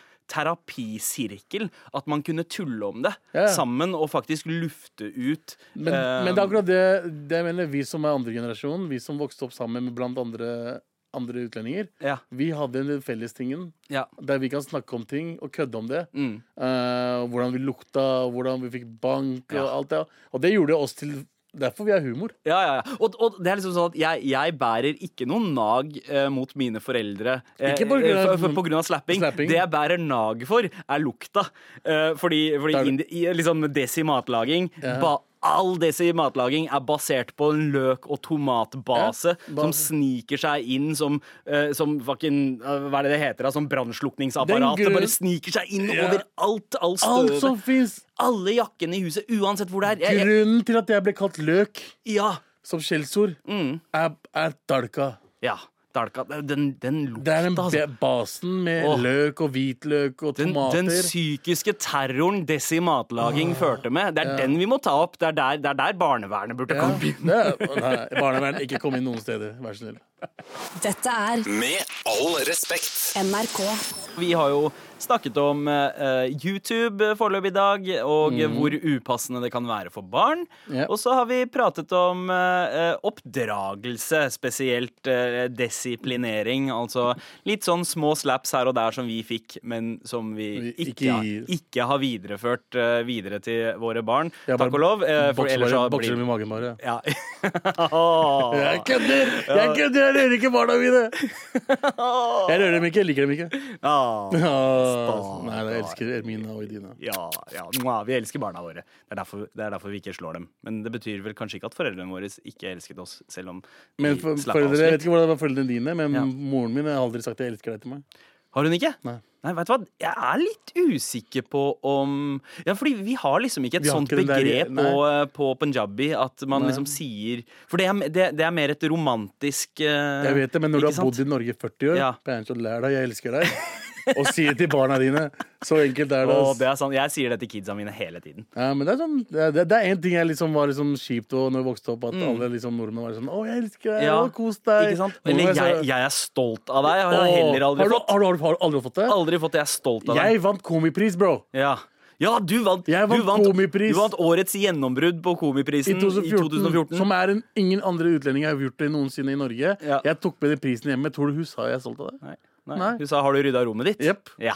Speaker 3: terapisirkel, at man kunne tulle om det
Speaker 5: Ja.
Speaker 3: sammen og faktisk lufte ut
Speaker 5: Men,
Speaker 3: eh,
Speaker 5: men det er akkurat det, det jeg mener vi som er andre generasjon, vi som vokste opp sammen med blant andre, andre utlendinger,
Speaker 3: ja,
Speaker 5: vi hadde den fellestingen
Speaker 3: ja,
Speaker 5: der vi kan snakke om ting og kødde om det.
Speaker 3: mm,
Speaker 5: Eh, hvordan vi lukta, hvordan vi fikk bank og
Speaker 3: Ja.
Speaker 5: alt det. Og det gjorde oss til Derfor vi har humor.
Speaker 3: ja, ja, ja. Og, og det er liksom sånn at jeg, jeg bærer ikke noen nag eh, mot mine foreldre eh,
Speaker 5: Ikke på grunn av-
Speaker 3: eh, for- for- på grunn av slapping.
Speaker 5: Slapping.
Speaker 3: Det jeg bærer nag for, er lukta. Eh, fordi fordi
Speaker 5: Da er det-
Speaker 3: indi, i- liksom desi matlaging ba, All desi matlaging er basert på en løk- og tomatbase
Speaker 5: Ja,
Speaker 3: som
Speaker 5: base.
Speaker 3: sniker seg inn som, eh, som fucking, eh, Hva er det det heter? da? Som brannslukningsapparat.
Speaker 5: Den
Speaker 3: Det
Speaker 5: grunn-
Speaker 3: bare sniker seg inn
Speaker 5: Ja.
Speaker 3: over alt. All
Speaker 5: Alt
Speaker 3: støvet.
Speaker 5: som fins!
Speaker 3: alle jakkene i huset, uansett hvor det er. Jeg, jeg,
Speaker 5: Grunnen til at jeg ble kalt løk
Speaker 3: ja.
Speaker 5: som skjellsord,
Speaker 3: Mm.
Speaker 5: er, er dalka.
Speaker 3: ja. Dalka, den, den
Speaker 5: Det er
Speaker 3: lukta,
Speaker 5: den
Speaker 3: altså.
Speaker 5: be- basen med
Speaker 3: Åh.
Speaker 5: løk og hvitløk og
Speaker 3: Den,
Speaker 5: tomater. Ah.
Speaker 3: den psykiske terroren desimatlaging førte med, det er den vi må ta opp. Det er der, det er der barnevernet burde
Speaker 5: Ja,
Speaker 3: komme inn.
Speaker 5: det er- nei, Barnevern, ikke kom inn noen steder, vær så snill.
Speaker 6: Dette er
Speaker 1: Med all respekt.
Speaker 6: NRK.
Speaker 3: Vi har jo snakket om eh, YouTube foreløpig i dag, og hvor upassende det kan være for barn.
Speaker 5: Mm. Ja.
Speaker 3: Og så har vi pratet om eh, oppdragelse, spesielt eh, disiplinering. Altså litt sånn små slaps her og der som vi fikk, men som vi,
Speaker 5: Vi
Speaker 3: ikke,
Speaker 5: ikke
Speaker 3: har,
Speaker 5: gir.
Speaker 3: ikke har videreført eh, videre til våre barn.
Speaker 5: Jeg bare
Speaker 3: Takk og lov. eh, for
Speaker 5: Bokser
Speaker 3: ellers så
Speaker 5: bare-
Speaker 3: blir
Speaker 5: bokser dem i magen bare.
Speaker 3: ja.
Speaker 5: Jeg kødder! Jeg kødder, jeg rører ikke barna mine! Jeg rører dem ikke, jeg liker dem ikke.
Speaker 3: Ah,
Speaker 5: Åh, nei, jeg elsker Ermina og Idina.
Speaker 3: ja, ja. Mwah, Vi elsker barna våre. Det er, derfor, det er derfor vi ikke slår dem. Men det betyr vel kanskje ikke at foreldrene våre ikke elsket oss, selv om
Speaker 5: Men
Speaker 3: vi
Speaker 5: for,
Speaker 3: slapp av
Speaker 5: foreldre,
Speaker 3: oss
Speaker 5: jeg
Speaker 3: litt.
Speaker 5: vet ikke hvordan det var foreldrene dine, men
Speaker 3: Ja.
Speaker 5: moren min har aldri sagt 'jeg elsker deg' til meg.
Speaker 3: Har hun ikke?
Speaker 5: Nei.
Speaker 3: vet du hva? Jeg er litt usikker på om Ja, fordi vi har liksom ikke et
Speaker 5: Vi har
Speaker 3: sånt
Speaker 5: ikke den der-
Speaker 3: begrep
Speaker 5: nei.
Speaker 3: på, eh, på punjabi at man
Speaker 5: Nei.
Speaker 3: liksom sier For det er, det, det er mer et romantisk eh,
Speaker 5: Jeg vet det, men når du
Speaker 3: ikke
Speaker 5: har bodd
Speaker 3: sant?
Speaker 5: i Norge i 40 år,
Speaker 3: Ja.
Speaker 5: Bernhard, så lær deg sånn 'jeg elsker deg', og si det til barna dine. Så enkelt er det.
Speaker 3: Å,
Speaker 5: ass.
Speaker 3: det er sant. Jeg sier det til kidsa mine hele tiden.
Speaker 5: Ja, men det er sånn Det, det- det er en ting jeg liksom var liksom kjipt og når jeg vokste opp, at alle liksom nordmenn var sånn 'Å, jeg elsker deg',
Speaker 3: Mm. Ja.
Speaker 5: å, kos deg.
Speaker 3: Ikke sant?
Speaker 5: Nordmenn
Speaker 3: Eller
Speaker 5: er
Speaker 3: jeg,
Speaker 5: så-
Speaker 3: jeg er stolt av deg. Har
Speaker 5: Å,
Speaker 3: jeg heller aldri
Speaker 5: har du,
Speaker 3: fått.
Speaker 5: Har du, har du, har du aldri fått det?
Speaker 3: Aldri fått jeg er stolt av deg.
Speaker 5: Jeg vant komipris, bro.
Speaker 3: Ja. ja, du vant,
Speaker 5: Jeg vant
Speaker 3: du vant
Speaker 5: komipris.
Speaker 3: Du vant årets gjennombrudd på
Speaker 5: I
Speaker 3: Komiprisen i
Speaker 5: 2014,
Speaker 3: 2014.
Speaker 5: Som er en, ingen andre utlendinger har gjort det noensinne i Norge.
Speaker 3: Ja.
Speaker 5: Jeg tok med den prisen hjemme. Tror du hun sa jeg er stolt av det?
Speaker 3: Nei, nei.
Speaker 5: Nei.
Speaker 3: Hun sa 'har du rydda rommet ditt'?
Speaker 5: Jepp.
Speaker 3: Ja,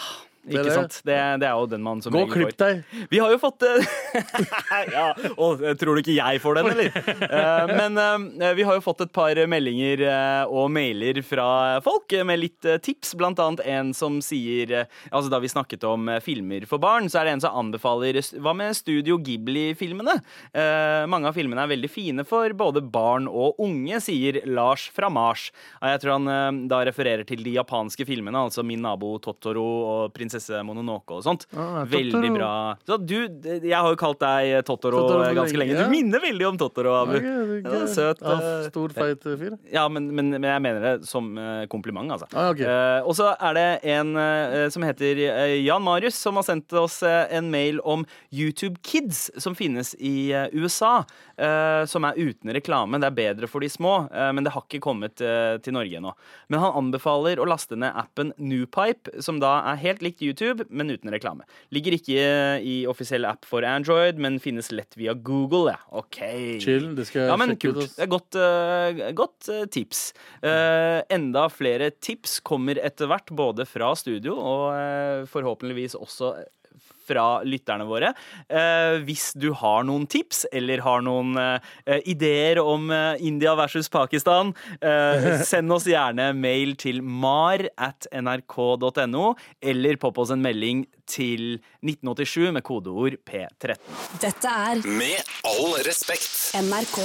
Speaker 5: er
Speaker 3: ikke
Speaker 5: det.
Speaker 3: sant? Det, det er jo den man som
Speaker 5: Gå og
Speaker 3: regel får.
Speaker 5: klipp deg.
Speaker 3: Vi har jo fått eh, ja, og, eh, Tror du ikke jeg får den, eller? Eh, men eh, vi har jo fått et par meldinger eh, og mailer fra folk eh, med litt eh, tips. Blant annet en som sier eh, Altså Da vi snakket om eh, filmer for barn, så er det en som anbefaler eh, Hva med Studio Ghibli-filmene? Eh, mange av filmene er veldig fine for både barn og unge, sier Lars fra Mars. Ja, Jeg tror han eh, da refererer til de japanske filmene, altså Min nabo Totoro og Prinsesse Mononoke og sånt.
Speaker 5: Ah,
Speaker 3: veldig
Speaker 5: Totoro.
Speaker 3: bra ja. Så du, jeg har jo kalt deg Totoro,
Speaker 5: Totoro for
Speaker 3: ganske
Speaker 5: lenge,
Speaker 3: lenge.
Speaker 5: ja.
Speaker 3: Du minner veldig om Totoro, Abu.
Speaker 5: Ok, det er
Speaker 3: Ja,
Speaker 5: gøy.
Speaker 3: søt.
Speaker 5: Ja,
Speaker 3: eh,
Speaker 5: stor, feit eh, fyr.
Speaker 3: Ja, men, men, men jeg mener det som eh, kompliment, altså.
Speaker 5: Ah, ok.
Speaker 3: Eh, og så er det en eh, som heter eh, Jan Marius, som har sendt oss eh, en mail om YouTube Kids, som finnes i eh, USA. eh, som er uten reklame. Det er bedre for de små, eh, men det har ikke kommet eh, til Norge ennå. Men han anbefaler å laste ned appen Nupipe, som da er helt likt YouTube, men uten reklame. Ligger ikke i offisiell app for Android, men finnes lett via Google. Ja. OK.
Speaker 5: Chill, det skal jeg
Speaker 3: Ja, men
Speaker 5: sjekke
Speaker 3: kult.
Speaker 5: ut. ass.
Speaker 3: Det er godt, eh, godt eh, tips. Eh, enda flere tips kommer etter hvert, både fra studio og eh, forhåpentligvis også fra lytterne våre. Eh, hvis du har noen tips eller har noen eh, ideer om eh, India versus Pakistan, eh, send oss gjerne mail til mar at nrk.no, eller popp oss en melding til 1987 med kodeord P13.
Speaker 6: Dette er
Speaker 1: Med all respekt.
Speaker 6: NRK.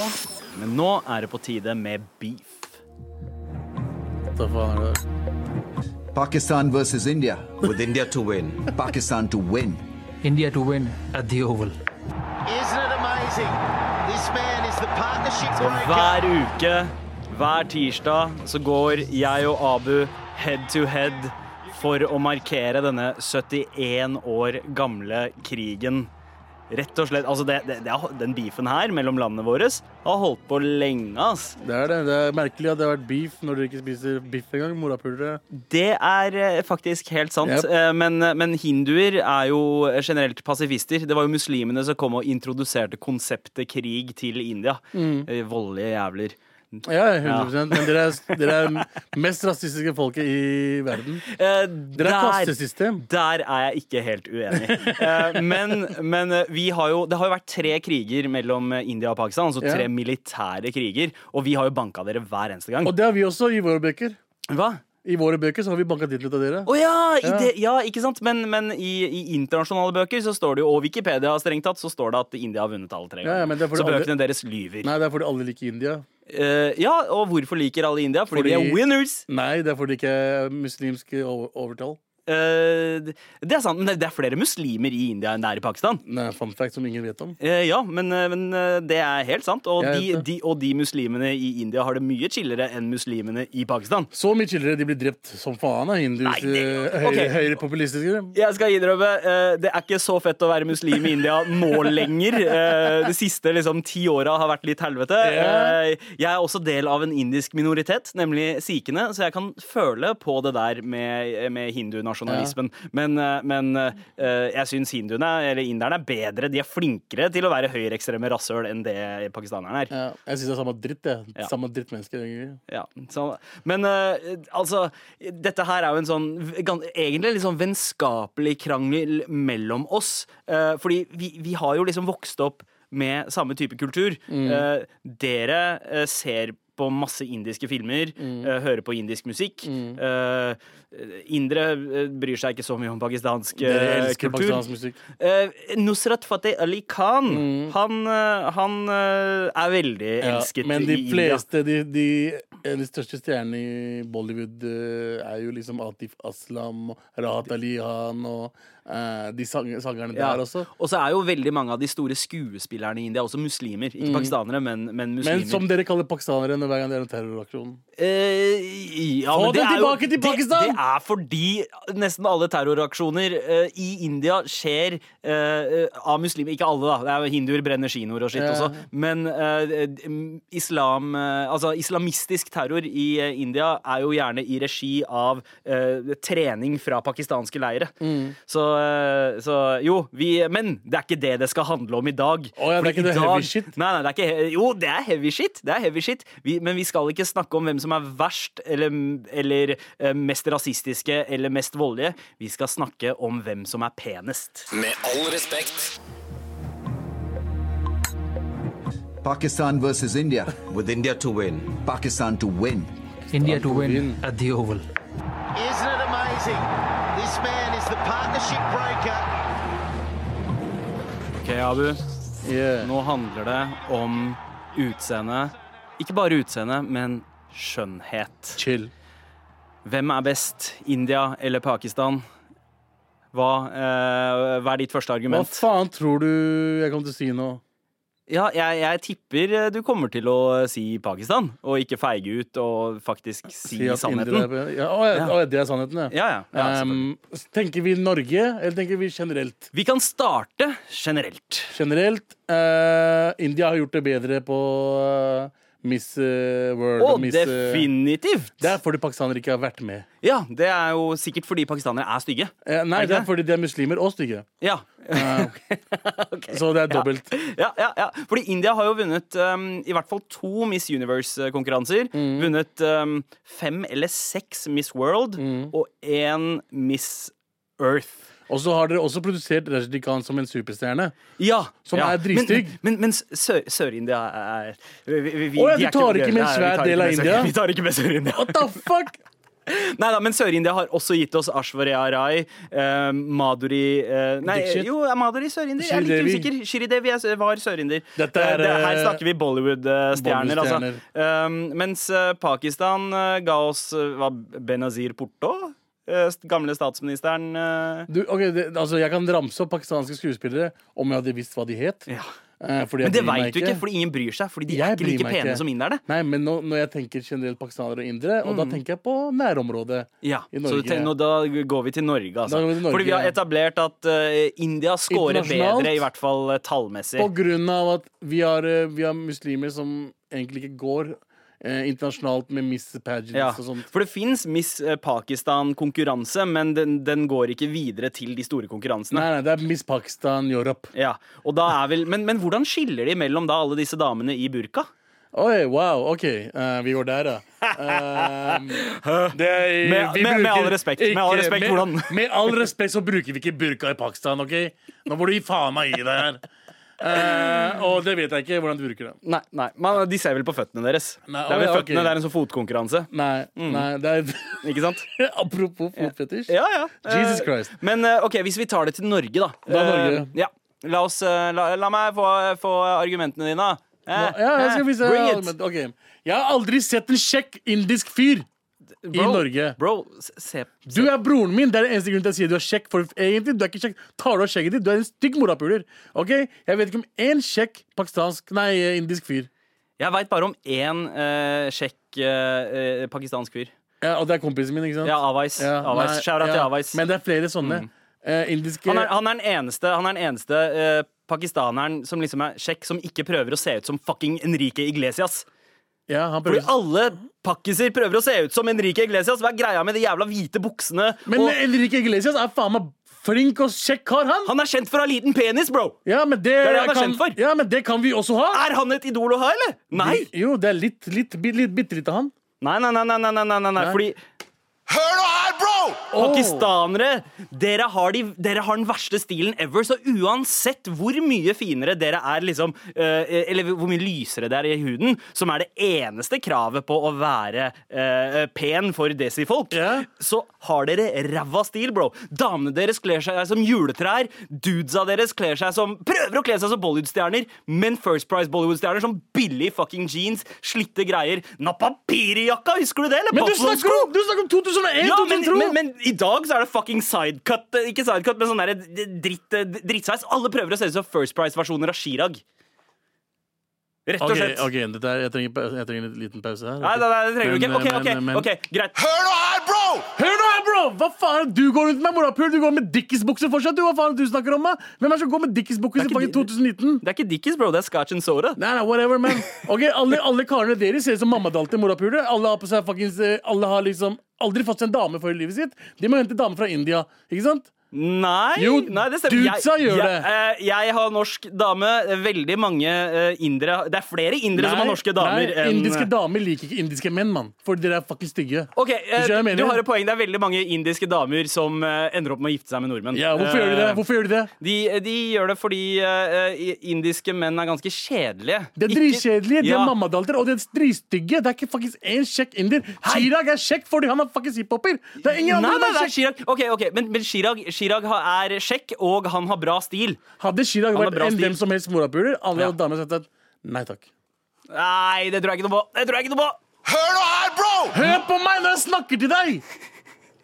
Speaker 3: Men nå er det på tide med beef.
Speaker 5: Hva faen er det?
Speaker 7: Pakistan versus India.
Speaker 8: with India to win.
Speaker 7: Pakistan to win.
Speaker 9: India to win at the Oval.
Speaker 10: Isn't it amazing? This man is the partnership breaker.
Speaker 3: Hver uke, hver tirsdag, så går jeg og Abu head to head for å markere denne 71 år gamle krigen. Rett og slett, altså det, det, det, har- Den beefen her mellom landene våre har holdt på lenge. ass.
Speaker 5: Det er det. Det er merkelig at det har vært beef når dere ikke spiser biff engang. Morapulere.
Speaker 3: Det er eh, faktisk helt sant.
Speaker 5: Yep.
Speaker 3: Eh, Men, men hinduer er jo generelt pasifister. Det var jo muslimene som kom og introduserte konseptet krig til India.
Speaker 5: Mm.
Speaker 3: Eh, Voldelige jævler.
Speaker 5: Ja, 100 Men dere er, dere er mest rasistiske folket i verden.
Speaker 3: Eh,
Speaker 5: Dere er
Speaker 3: der-
Speaker 5: kastesystem.
Speaker 3: Der er jeg ikke helt uenig. Eh, Men, men eh, vi har jo, det har jo vært tre kriger mellom eh, India og Pakistan. Altså
Speaker 5: Ja.
Speaker 3: tre militære kriger. Og vi har jo banka dere hver eneste gang.
Speaker 5: Og det har vi også i våre bøker.
Speaker 3: Hva?
Speaker 5: I våre bøker så har vi banka tittelen ut av dere.
Speaker 3: Å ja, i
Speaker 5: Ja.
Speaker 3: det, ja, ikke sant? Men, men i, i internasjonale bøker så står det jo, og Wikipedia strengt tatt, så står det at India har vunnet alle tre.
Speaker 5: Ja, ja, men det er fordi
Speaker 3: så
Speaker 5: alle-
Speaker 3: bøkene deres lyver.
Speaker 5: Nei, det er fordi alle liker India.
Speaker 3: Eh, ja, og hvorfor liker alle India? Fordi, vi
Speaker 5: Fordi-
Speaker 3: er winners!
Speaker 5: Nei, det er fordi det ikke er muslimske over- overtall.
Speaker 3: Eh, det er sant, men det det er flere muslimer i India enn det er i Pakistan.
Speaker 5: Nei, fun fact som ingen vet om.
Speaker 3: Eh, Ja, men, eh, men eh, det er helt sant. Og
Speaker 5: Jeg
Speaker 3: de,
Speaker 5: vet det.
Speaker 3: de, og de muslimene i India har det mye chillere enn muslimene i Pakistan.
Speaker 5: Så mye chillere de blir drept som faen av hindus
Speaker 3: Nei, det-
Speaker 5: eh, høyre-
Speaker 3: ok.
Speaker 5: høyrepopulistiske.
Speaker 3: Jeg skal innrømme, eh, det er ikke så fett å være muslim i India nå lenger. Eh, De siste liksom, ti åra har vært litt helvete.
Speaker 5: Ja.
Speaker 3: Eh, Jeg er også del av en indisk minoritet, nemlig sikhene, så jeg kan føle på det der med, med hindunasjonalismen. Men, eh, men eh, jeg syns hinduene, eller inderne, er bedre. De er flinkere til å være høyreekstreme rasshøl enn det pakistanerne er.
Speaker 5: Ja, jeg syns det er samme dritt. Jeg.
Speaker 3: Ja.
Speaker 5: Samme drittmennesker. egentlig.
Speaker 3: Ja, så, men eh, altså Dette her er jo en sånn v- gan- egentlig litt sånn vennskapelig krangel mellom oss. eh, fordi vi, vi har jo liksom vokst opp med samme type kultur.
Speaker 5: Mm.
Speaker 3: Eh, dere eh, ser på masse indiske filmer,
Speaker 5: Mm.
Speaker 3: eh, hører på indisk musikk. Eh, indre eh, bryr seg ikke så mye om pakistansk eh,
Speaker 5: Dere elsker
Speaker 3: kultur.
Speaker 5: pakistansk musikk. Mm.
Speaker 3: Eh, Nusrat Fateh Ali Khan, han, eh, han eh, er veldig
Speaker 5: Ja,
Speaker 3: elsket
Speaker 5: men de
Speaker 3: i India.
Speaker 5: fleste, de, de, eh, de største stjernene i Bollywood eh, er jo liksom Atif Aslam og Rahat Ali Khan og eh, de sang, sangerne
Speaker 3: Ja.
Speaker 5: der også.
Speaker 3: Og så er jo veldig mange av de store skuespillerne i India også muslimer. Ikke pakistanere, men, men muslimer.
Speaker 5: Men som dere kaller pakistanere når hver gang det er en terroraksjon.
Speaker 3: Eh, ja,
Speaker 5: Få
Speaker 3: men det
Speaker 5: dem
Speaker 3: er jo-
Speaker 5: tilbake til Pakistan!
Speaker 3: Det, det er fordi nesten alle terroraksjoner eh, i India skjer eh, eh, av muslimer. Ikke alle, da. Det er jo Hinduer brenner kinoer og shit
Speaker 5: Ja.
Speaker 3: også. Men eh, d- m- islam, eh, altså, islamistisk terror i eh, India er jo gjerne i regi av eh, trening fra pakistanske leire.
Speaker 5: Mm.
Speaker 3: Så, eh, så jo, vi Men det er ikke det det skal handle om i dag.
Speaker 5: Å ja, det er
Speaker 3: Fordi
Speaker 5: ikke
Speaker 3: i
Speaker 5: det heavy shit?
Speaker 3: Nei, nei, det er ikke he Jo, det er heavy shit. Det er heavy shit. Vi, men vi skal ikke snakke om hvem som er verst eller, eller eh, mest rasistiske eller mest voldelige. Vi skal snakke om hvem som er penest.
Speaker 1: Med all respekt.
Speaker 7: Pakistan versus India.
Speaker 6: With India to win.
Speaker 7: Pakistan to win.
Speaker 9: India to win at the Oval.
Speaker 10: Isn't it amazing? This man is the partnership breaker.
Speaker 3: OK, Abu.
Speaker 5: Yeah.
Speaker 3: Nå handler det om utseende. Ikke bare utseende, men skjønnhet.
Speaker 5: Chill.
Speaker 3: Hvem er best, India eller Pakistan? Hva, eh, hva er ditt første
Speaker 5: Hva
Speaker 3: argument?
Speaker 5: faen tror du jeg kommer til å si nå?
Speaker 3: Ja, jeg, jeg tipper eh, du kommer til å si Pakistan, og ikke feige ut og faktisk si,
Speaker 5: Si at indere
Speaker 3: sannheten.
Speaker 5: er- Ja, å, ja,
Speaker 3: Ja.
Speaker 5: å, ja, det er sannheten, ja.
Speaker 3: Ja, ja. ja selvfølgelig.
Speaker 5: Ehm, tenker vi Norge, eller tenker vi generelt?
Speaker 3: vi kan starte generelt.
Speaker 5: Generelt. eh, India har gjort det bedre på eh, Miss eh, World.
Speaker 3: Og
Speaker 5: og Miss, eh,
Speaker 3: definitivt!
Speaker 5: det er fordi pakistanere ikke har vært med.
Speaker 3: Ja, det er jo sikkert fordi pakistanere er stygge.
Speaker 5: Eh,
Speaker 3: Er
Speaker 5: nei,
Speaker 3: det
Speaker 5: det er
Speaker 3: det?
Speaker 5: fordi de er muslimer og stygge.
Speaker 3: Ja.
Speaker 5: Så det er dobbelt.
Speaker 3: ja, ja, ja. Fordi India har jo vunnet um, i hvert fall to Miss Universe-konkurranser.
Speaker 5: Mm.
Speaker 3: Vunnet um, fem eller seks Miss World
Speaker 5: Mm.
Speaker 3: og én Miss Earth.
Speaker 5: Og så har dere også produsert Rajdi Khan som en superstjerne.
Speaker 3: Ja,
Speaker 5: Som
Speaker 3: ja.
Speaker 5: er dritstygg.
Speaker 3: Men, men, men Sør- Sør-India er vi- vi- vi-
Speaker 5: Å ja,
Speaker 3: de
Speaker 5: du
Speaker 3: er
Speaker 5: tar ikke med
Speaker 3: Nei, vi tar
Speaker 5: svær
Speaker 3: ikke
Speaker 5: del av
Speaker 3: med Sør-
Speaker 5: India?
Speaker 3: Vi tar ikke med Sør-India.
Speaker 5: What the fuck?
Speaker 3: Nei da, men Sør-India har også gitt oss Ashwarya Rai, eh, Madhuri eh, Nei,
Speaker 5: Dixit.
Speaker 3: jo, er Madhuri sør-inder. Jeg er litt
Speaker 5: Shridevi.
Speaker 3: usikker. Shridevi er s- var sør-inder.
Speaker 5: Dette
Speaker 3: Eh,
Speaker 5: er,
Speaker 3: det- Her
Speaker 5: eh,
Speaker 3: snakker vi Bollywood-stjerner, altså. Eh, mens eh, Pakistan eh, ga oss eh, hva, Benazir Porto, eh, st- gamle statsministeren eh,
Speaker 5: Du, ok, det, altså, jeg kan ramse opp pakistanske skuespillere om jeg hadde visst hva de het.
Speaker 3: ja.
Speaker 5: Eh, fordi jeg
Speaker 3: Men det
Speaker 5: bryr meg
Speaker 3: veit du ikke, fordi ingen bryr seg. Fordi de er
Speaker 5: Jeg
Speaker 3: ikke
Speaker 5: bryr
Speaker 3: like
Speaker 5: meg
Speaker 3: pene
Speaker 5: ikke.
Speaker 3: som inderne. Mm.
Speaker 5: Nei, men nå, når jeg tenker generelt pakistanere og indere, og da tenker jeg på nærområdet.
Speaker 3: Ja,
Speaker 5: I
Speaker 3: så
Speaker 5: Norge.
Speaker 3: te- nå, da går vi til Norge, altså.
Speaker 5: Da går vi til Norge,
Speaker 3: Fordi vi har
Speaker 5: ja.
Speaker 3: etablert at eh, India scorer
Speaker 5: Internasjonalt.
Speaker 3: bedre, i hvert fall eh, tallmessig.
Speaker 5: På grunn av at vi har, eh, vi har muslimer som egentlig ikke går eh, internasjonalt med Miss Pageants
Speaker 3: ja.
Speaker 5: og sånn. sånt.
Speaker 3: For det fins Miss eh, Pakistan-konkurranse, men den, den går ikke videre til de store konkurransene.
Speaker 5: Nei, nei, det er Miss Pakistan Europe.
Speaker 3: Ja, og da er vel, men, men hvordan skiller de mellom da alle disse damene i burka?
Speaker 5: Oi, wow, OK. eh, vi går der, ja. Ehm, det er-
Speaker 3: Med-
Speaker 5: vi
Speaker 3: med- med
Speaker 5: bruker
Speaker 3: all respekt, med all respekt,
Speaker 5: med,
Speaker 3: hvordan-
Speaker 5: Med all respekt så bruker vi ikke burka i Pakistan, OK? Nå må du gi faen meg i deg her. Eh, og det vet jeg ikke hvordan du bruker det.
Speaker 3: Nei, nei, man, De ser vel på føttene deres.
Speaker 5: Nei,
Speaker 3: det er vel
Speaker 5: å ja,
Speaker 3: føttene,
Speaker 5: ok.
Speaker 3: det er en sånn fotkonkurranse.
Speaker 5: Nei, nei, det er
Speaker 3: Ikke sant?
Speaker 5: Apropos fotfetisj.
Speaker 3: Mm. Ja, ja.
Speaker 5: Jesus
Speaker 3: Eh,
Speaker 5: Christ.
Speaker 3: Men eh, ok, hvis vi tar det til Norge, da.
Speaker 5: Da Norge.
Speaker 3: Eh, ja. La, oss, eh, la, la meg få, få argumentene dine. da. Eh,
Speaker 5: Ja, jeg skal
Speaker 3: eh,
Speaker 5: vise
Speaker 3: Bring it.
Speaker 5: allment. Ok. Jeg har aldri sett en kjekk indisk fyr i
Speaker 3: Bro,
Speaker 5: Norge.
Speaker 3: Bro, s- se
Speaker 5: Du er broren min. Det er den eneste grunnen til at jeg sier du er kjekk. For egentlig, du er ikke kjekk. Tar du av skjegget ditt, du er en stygg morapuler. Ok? Jeg vet ikke om én kjekk pakistansk Nei, indisk fyr.
Speaker 3: Jeg veit bare om én eh, sjekk eh, eh, pakistansk fyr.
Speaker 5: Ja, og det er kompisen min, ikke sant?
Speaker 3: Ja, Avais.
Speaker 5: Ja,
Speaker 3: Avais.
Speaker 5: nei,
Speaker 3: Shout-out til
Speaker 5: ja.
Speaker 3: Avais. Mm.
Speaker 5: Men det er flere sånne. Eh, indiske
Speaker 3: han, er, han er den eneste, han er den eneste eh, pakistaneren som liksom er sjekk, som ikke prøver å se ut som fucking Enrique Iglesias.
Speaker 5: Ja, han
Speaker 3: Fordi
Speaker 5: prøver.
Speaker 3: alle pakkiser prøver å se ut som Enrique Iglesias. Hva er greia med de jævla hvite buksene?
Speaker 5: Men
Speaker 3: og,
Speaker 5: Enrique Iglesias er faen meg flink og kjekk kar, han.
Speaker 3: han er kjent for å ha liten penis, bro!
Speaker 5: Ja, men det,
Speaker 3: er det han er
Speaker 5: kan,
Speaker 3: kjent for.
Speaker 5: Ja, men det kan vi også ha.
Speaker 3: Er han et idol å ha, eller? Nei!
Speaker 5: Jo, det er litt, litt, bitte litt, bitte litt av han.
Speaker 3: Nei, nei, nei, nei, nei, nei, nei, nei.
Speaker 5: Nei.
Speaker 3: fordi
Speaker 1: Hør nå her, bro!
Speaker 3: Pakistanere! Dere har, de, dere har den verste stilen ever, så uansett hvor mye finere dere er, liksom, eh, eller hvor mye lysere det er i huden, som er det eneste kravet på å være eh, pen for desifolk, så har dere ræva stil, bro. Damene deres kler seg som juletrær, dudesa deres kler seg som Prøver å kle seg som Bollywood-stjerner, men First Price Bollywood-stjerner som billig fucking jeans, slitte greier. Napapiri-jakka, husker du det? Eller
Speaker 5: Men du
Speaker 3: Buffalo-sko?
Speaker 5: snakker om, du snakker om 2001!
Speaker 3: Ja, men,
Speaker 5: 2002.
Speaker 3: men, men i dag så er det fucking sidecut. eh, Ikke sidecut, men sånn der eh, dritt, eh, drittsveis. Alle prøver å se ut som First Price-versjoner av Chirag. Rett og
Speaker 5: Ok,
Speaker 3: slett.
Speaker 5: ok, dette er, jeg, trenger, pa- jeg trenger en liten pause her.
Speaker 3: Nei, nei, nei, det trenger du
Speaker 5: Men,
Speaker 3: ikke. Ok,
Speaker 5: men, men-
Speaker 3: ok, ok, greit.
Speaker 1: Hør nå her, bro!
Speaker 5: Hør nå her, bro! Hva faen? Du går rundt med morapul, du går med Dickies-bukser fortsatt. Du, hva faen du snakker om, da? Hvem er det som går med Dickies-bukser i
Speaker 3: ikke
Speaker 5: fucking 2019?
Speaker 3: Det er ikke Dickies, bro. Det er Scotch and Soda.
Speaker 5: Nei, nei, whatever, man. Ok, Alle, alle karene deres ser ut som mammadalter morapuler. Alle har på seg fuckings eh, Alle har liksom aldri fått seg en dame før i livet sitt. De må hente damer fra India, ikke sant?
Speaker 3: Nei,
Speaker 5: Jo,
Speaker 3: nei, det stemmer. Jeg-
Speaker 5: dudesa gjør
Speaker 3: jeg,
Speaker 5: det.
Speaker 3: eh, jeg har norsk dame. eh, Veldig mange eh, indere Det er flere indere som har norske damer.
Speaker 5: nei,
Speaker 3: enn-
Speaker 5: indiske damer liker ikke indiske menn, mann. For dere er fuckings stygge.
Speaker 3: Ok,
Speaker 5: skjønner
Speaker 3: eh,
Speaker 5: hva
Speaker 3: du
Speaker 5: jeg mener?
Speaker 3: har et poeng. Det er veldig mange indiske damer som eh, ender opp med å gifte seg med nordmenn.
Speaker 5: Ja, hvorfor gjør de det?
Speaker 3: Eh,
Speaker 5: Hvorfor gjør de det?
Speaker 3: De, de gjør det fordi eh, i- indiske menn er ganske kjedelige.
Speaker 5: De er
Speaker 3: Ikke-
Speaker 5: dritkjedelige, de er
Speaker 3: Ja.
Speaker 5: mammadalter, og de er dritstygge. Det er ikke faktisk én kjekk inder. Chirag er kjekk fordi han er fuckings hiphoper. Det er ingen
Speaker 3: Nei,
Speaker 5: andre
Speaker 3: nei, det
Speaker 5: som er
Speaker 3: er
Speaker 5: kjekk.
Speaker 3: Chirag. Ok, ok, Men, men Chirag, Chirag ha- er kjekk, og han har bra stil.
Speaker 5: Hadde Chirag
Speaker 3: Han har
Speaker 5: vært
Speaker 3: bra
Speaker 5: en
Speaker 3: stil.
Speaker 5: hvem som helst morapuler, alle
Speaker 3: Ja.
Speaker 5: damer hadde sagt at nei takk.
Speaker 3: Nei, det tror jeg ikke noe på! Det tror jeg ikke noe på!
Speaker 1: Hør nå her, bro!
Speaker 5: Hør på meg når jeg snakker til deg!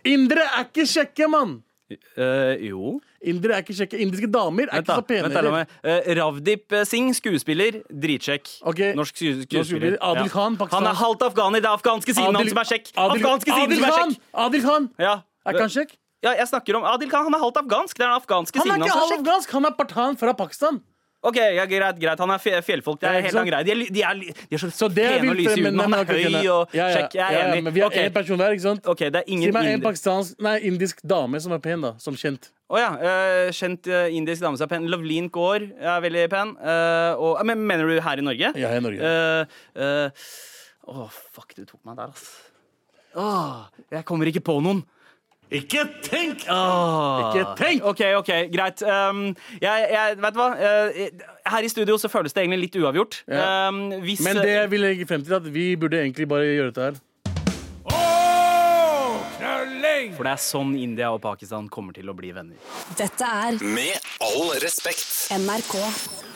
Speaker 5: Indere er ikke kjekke, mann.
Speaker 3: Eh, jo
Speaker 5: Indere er ikke kjekke. Indiske damer er
Speaker 3: Vent,
Speaker 5: ikke
Speaker 3: da.
Speaker 5: så pene.
Speaker 3: Vent, da, la
Speaker 5: heller.
Speaker 3: meg- eh, Ravdip Singh, skuespiller. Dritkjekk.
Speaker 5: Ok.
Speaker 3: Norsk sku-
Speaker 5: skuespiller.
Speaker 3: skuespiller.
Speaker 5: Adil Khan, pakistansk.
Speaker 3: Han er halvt afghaner. Det er afghanske siden han
Speaker 5: Adil-
Speaker 3: som er kjekk.
Speaker 5: Adil-
Speaker 3: Afghanske siden
Speaker 5: Adil
Speaker 3: som er
Speaker 5: Khan!
Speaker 3: kjekk.
Speaker 5: Adil Khan!
Speaker 3: Ja.
Speaker 5: Er ikke han kjekk?
Speaker 3: ja, jeg snakker om Adil Khan. Han er halvt afghansk. Det er den afghanske
Speaker 5: Han
Speaker 3: siden
Speaker 5: er
Speaker 3: hans
Speaker 5: ikke
Speaker 3: som er kjekk.
Speaker 5: halvgansk, han er partan fra Pakistan.
Speaker 3: Ok, ja, greit, greit. Han er fje- fjellfolk. Det
Speaker 5: Ja,
Speaker 3: er
Speaker 5: ikke
Speaker 3: helt
Speaker 5: sant?
Speaker 3: annen greie. De er, ly- de er, ly- de er så,
Speaker 5: Så det er
Speaker 3: pene og
Speaker 5: vilt,
Speaker 3: lyse i
Speaker 5: men-
Speaker 3: huden. Han
Speaker 5: men
Speaker 3: er
Speaker 5: ok, ok, nei.
Speaker 3: høy og
Speaker 5: Ja, ja,
Speaker 3: kjekk. Jeg
Speaker 5: ja,
Speaker 3: er
Speaker 5: ja,
Speaker 3: enig.
Speaker 5: Men vi har
Speaker 3: Ok.
Speaker 5: én person hver, ikke sant?
Speaker 3: OK, det er
Speaker 5: Gi
Speaker 3: ingen
Speaker 5: meg en
Speaker 3: inder...
Speaker 5: pakistansk, nei, indisk dame som er pen, da. Som kjent.
Speaker 3: Å ja. eh, kjent eh, indisk dame som er pen. Loveleen Gaar er veldig pen. eh, og, eh, men mener du her i Norge?
Speaker 5: Ja, i Norge.
Speaker 3: Eh, eh, Å, fuck, du tok meg der, ass. Åh, jeg kommer ikke på noen.
Speaker 5: Ikke tenk!
Speaker 3: Åh.
Speaker 5: Ikke tenk!
Speaker 3: OK, ok, greit. Um, jeg, jeg, vet du hva? Eh, her i studio så føles det egentlig litt uavgjort.
Speaker 5: Ja.
Speaker 3: Um, hvis,
Speaker 5: Men det jeg vil legge frem til, er at vi burde egentlig bare gjøre dette her.
Speaker 3: For det er sånn India og Pakistan kommer til å bli venner.
Speaker 6: Dette er
Speaker 1: Med all respekt.
Speaker 6: NRK.